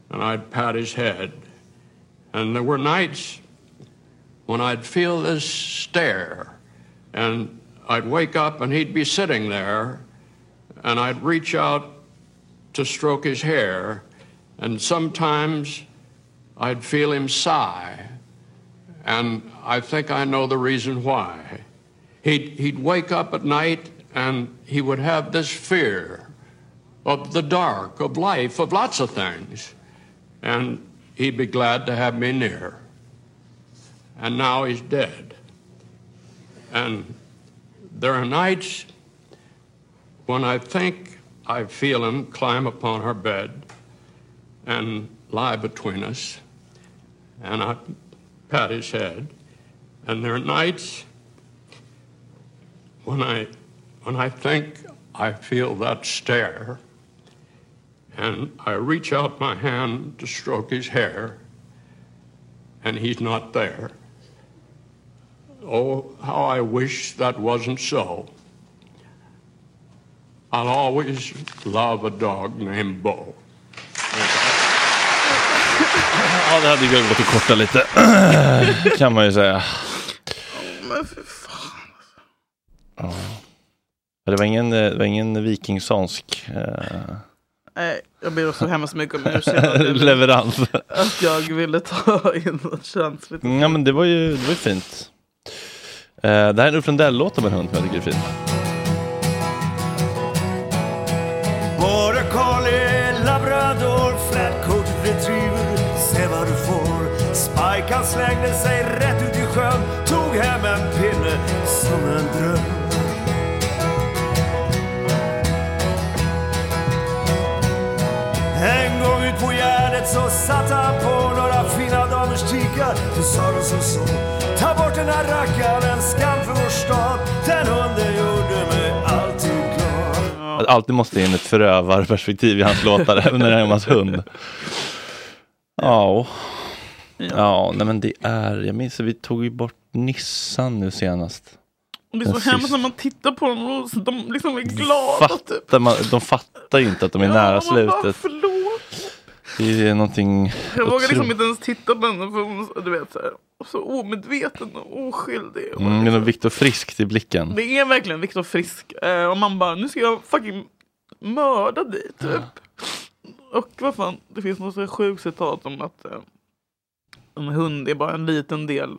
and I'd pat his head. And there were nights when I'd feel this stare, and I'd wake up and he'd be sitting there, and I'd reach out to stroke his hair, and sometimes I'd feel him sigh, and I think I know the reason why. He'd, he'd wake up at night and he would have this fear of the dark, of life, of lots of things, and he'd be glad to have me near. And now he's dead. And there are nights when I think I feel him climb upon her bed and lie between us, and I pat his head. And there are nights when I, when I think I feel that stare, and I reach out my hand to stroke his hair, and he's not there. Oh, how I wish that wasn't so. I'll always love a dog named Bo. Ja, det hade ju gått att korta lite. kan man ju säga. Men för fan. Ja. Det var ingen, eh, det var ingen vikingsonsk eh, Nej, Ah, jag ber så hemskt mycket om ursäkt. att jag- leverans. Att jag ville ta in något känsligt. Mm, Ja, men det var ju det var ju fint. Eh, det här är en Ulf Lundell-låt om en hund som jag tycker är fin. Border collie, labrador, flatcoat retriever. Se vad du får. Spike han slängde sig rätt ut i sjön. Tog hem en pinne som en dröm. En gång ut på Gärdet så satt han på några fina damers tikar. Då sa de som så. Ta bort den här rackaren, skam för vår stad. Den hunden gjorde mig alltid glad. Att alltid måste in ett förövarperspektiv i hans låtar, även när det är om hans hund. Ja. Ja, nej men det är, jag minns att vi tog ju bort Nissan nu senast. Och det är så Den sista. hemskt när man tittar på dem och så- de liksom är glada. typ. Fattar man, de fattar ju inte att de är nära man bara, slutet. Förlåt. Det är någonting Jag vågar liksom otroligt. inte ens titta på henne för hon så- du vet, så, här, så omedveten och oskyldig. Mm, det är något Viktor Friskt i blicken. Det är verkligen Viktor Frisk. Eh, och man bara, nu ska jag fucking mörda dig typ. Och vad fan, det finns något så här sjukt citat om att eh, en hund är bara en liten del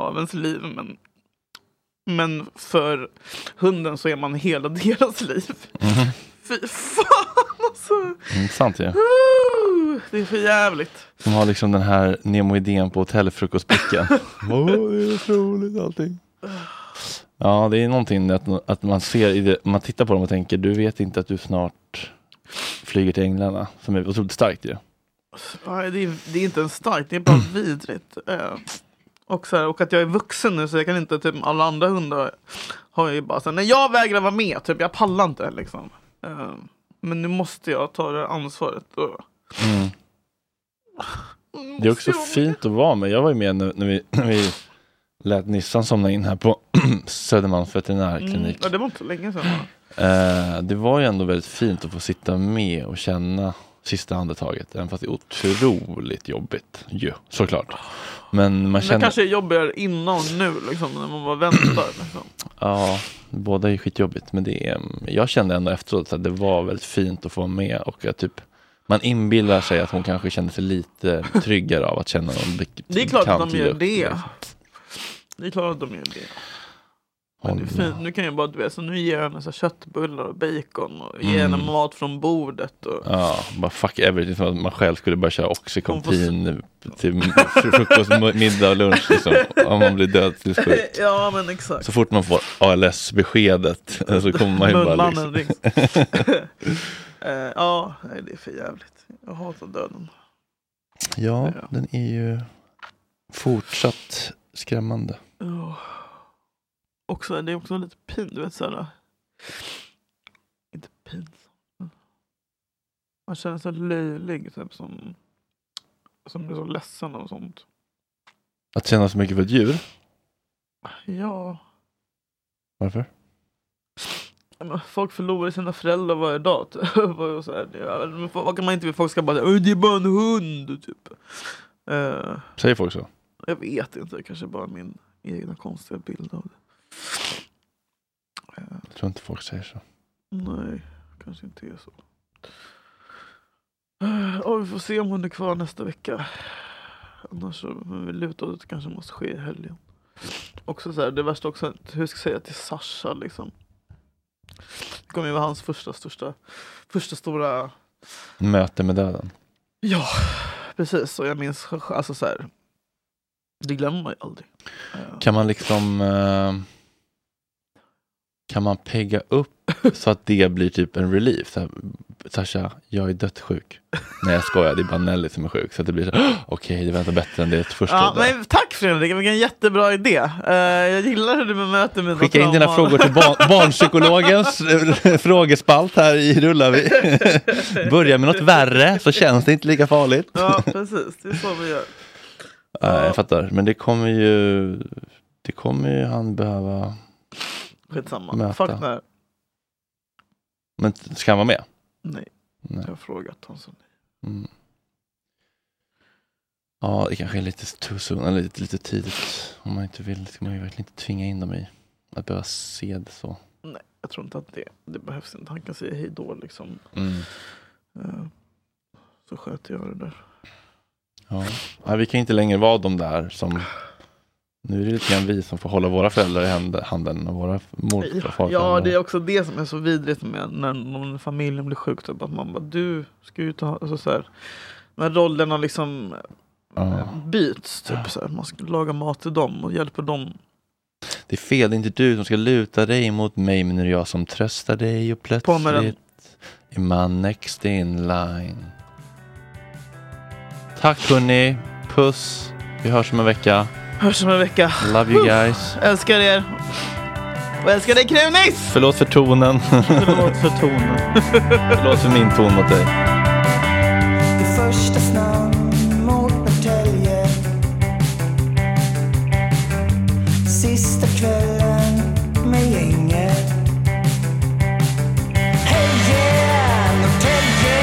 av ens liv. Men, men för hunden så är man hela deras liv. Mhm. Fy fan alltså. Intressant ju. Uh, det är för jävligt. De har liksom den här Nemo-idén på hotellfrukostbrickan. Åh, det är så roligt allting. Ja, det är någonting att, att man ser, i det, man tittar på dem och tänker, du vet inte att du snart flyger till Änglarna, som är otroligt starkt ju. Nej, det, är, det är inte ens starkt, det är bara vidrigt. Eh, och, så här, och att jag är vuxen nu så jag kan inte, typ alla andra hundar har ju bara så här, nej jag vägrar vara med, typ jag pallar inte liksom. Eh, men nu måste jag ta det ansvaret. Och, Mm. Det är också fint att vara med. Jag var ju med när, när, vi, när vi lät Nissan somna in här på Södermalms mm, veterinärklinik. ja, det var inte så länge sedan. va? Eh, det var ju ändå väldigt fint att få sitta med och känna sista andetaget. Även fast det är otroligt jobbigt ju, såklart. Men man Men känner... Det kanske är jobbigare innan nu, liksom, när man bara väntar. Liksom. Ja, båda är skitjobbigt. Men det är, jag kände ändå efteråt att det var väldigt fint att få vara med. Och att typ, man inbillar sig att hon kanske kände sig lite tryggare av att känna någon be- Det är klart att bekant de gör lukt. det. Det är klart att de gör det. Men det är fint. Nu kan jag bara, du vet, så nu ger jag henne så här köttbullar och bacon och ger henne Mm. mat från bordet. Och... Ja, bara fuck everything. Som att man själv skulle börja köra Oxycontin till frukost, middag och lunch. Liksom, om man blir död till slut. ja, men exakt. Så fort man får ALS-beskedet så kommer man ju bara... Munnmannen Liksom. rings. Eh, Ja, nej, det är för jävligt. Jag hatar döden. ja, den är ju fortsatt skrämmande. Ja. Också, det är också lite pin, du vet såhär. Inte pinsamt. men Man känner sig löjlig typ som. Som blir så ledsen och sånt. Att känna så mycket för ett djur, Ja. varför? men Folk förlorar sina föräldrar varje dag. Typ. Och så här, ja, men vad kan man inte Folk ska bara säga "Åh, det är bara en hund. Typ. Eh, Säger folk så? jag vet inte, det kanske bara är min egna konstiga bild av det. Jag tror inte folk säger så. Nej, kanske inte är så. Eh, Ja, vi får se om hon är kvar nästa vecka. Annars så men vi lutar åt att det kanske måste ske i helgen. Också så här, det värsta också, att- hur ska jag säga till Sasha liksom? Det kommer ju vara hans första, största, första stora Möte med döden. Ja, precis. Och jag minns, alltså så här. Det glömmer man ju aldrig. Eh, Kan man liksom... eh, Kan man pegga upp så att det blir typ en relief? Så här, Sasha, jag är dött sjuk. Nej, jag skojar. Det är bara Nelly som är sjuk. Så att det blir så här, "Åh, okej, det väntar bättre än det första. Ja, där." men tack Fredrik, vilken jättebra idé. Eh, jag gillar hur du bemöter mina Skicka in dina trauman. frågor till barn, barnpsykologens eh, frågespalt här i Rullar vi. Börja med något värre så känns det inte lika farligt. ja, precis. Det är så vi gör. Nej, jag fattar, men det kommer ju, det kommer ju han behöva. Skitsamma. Möta. Fuck det här. Men ska han vara med? Nej. Nej. Jag har frågat honom. så nej. Mm. Ja, det kanske är lite too soon, eller lite, lite tidigt. Om man inte vill ska man ju verkligen inte tvinga in dem i att behöva se det så. Nej, jag tror inte att det, det behövs. Inte. Han kan säga hej då liksom. Mm. Eh, så sköter jag det där. Ja. Nej, vi kan inte längre vara de där som nu är det lite grann vi som får hålla våra föräldrar i hand- handen och våra mor och farföräldrar. Ja, det är också det som är så vidrigt med när någon i familjen blir sjuk. Typ, att man bara, du ska ju ta... Alltså, så här, när rollerna liksom Ja. byts. Typ, så här, man ska laga mat till dem och hjälpa dem. Det är fel, det är inte du som ska luta dig mot mig, men det är jag som tröstar dig och På med den. plötsligt är man next in line. Tack hörni, puss, vi hörs om en vecka. Hörs om en vecka. Love you Puh. guys. Älskar er. Och älskar dig Krunis! Förlåt för tonen. Förlåt för tonen. Förlåt för min ton mot dig. Det första snön mot Norrtälje Sista kvällen med gänget Heja Norrtälje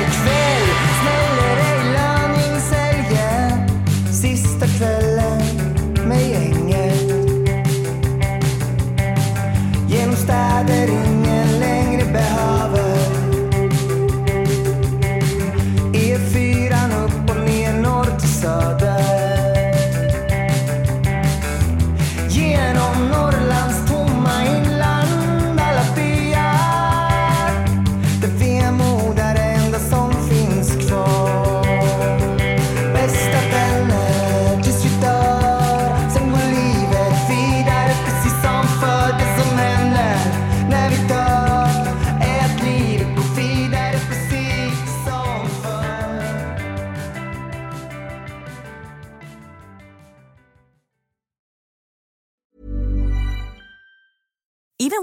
ikväll smäller Eilan Insälje Sista kvällen med gänget Genom städer ingen längre behöver E4 E upp och ner norr till söder Genom Norrlands tomma inland alla byar Där vemod är det enda som finns kvar Bästa vänner tills vi dör Sen går livet vidare precis som förr Det som händer när vi dör är att livet går vidare precis som förr Even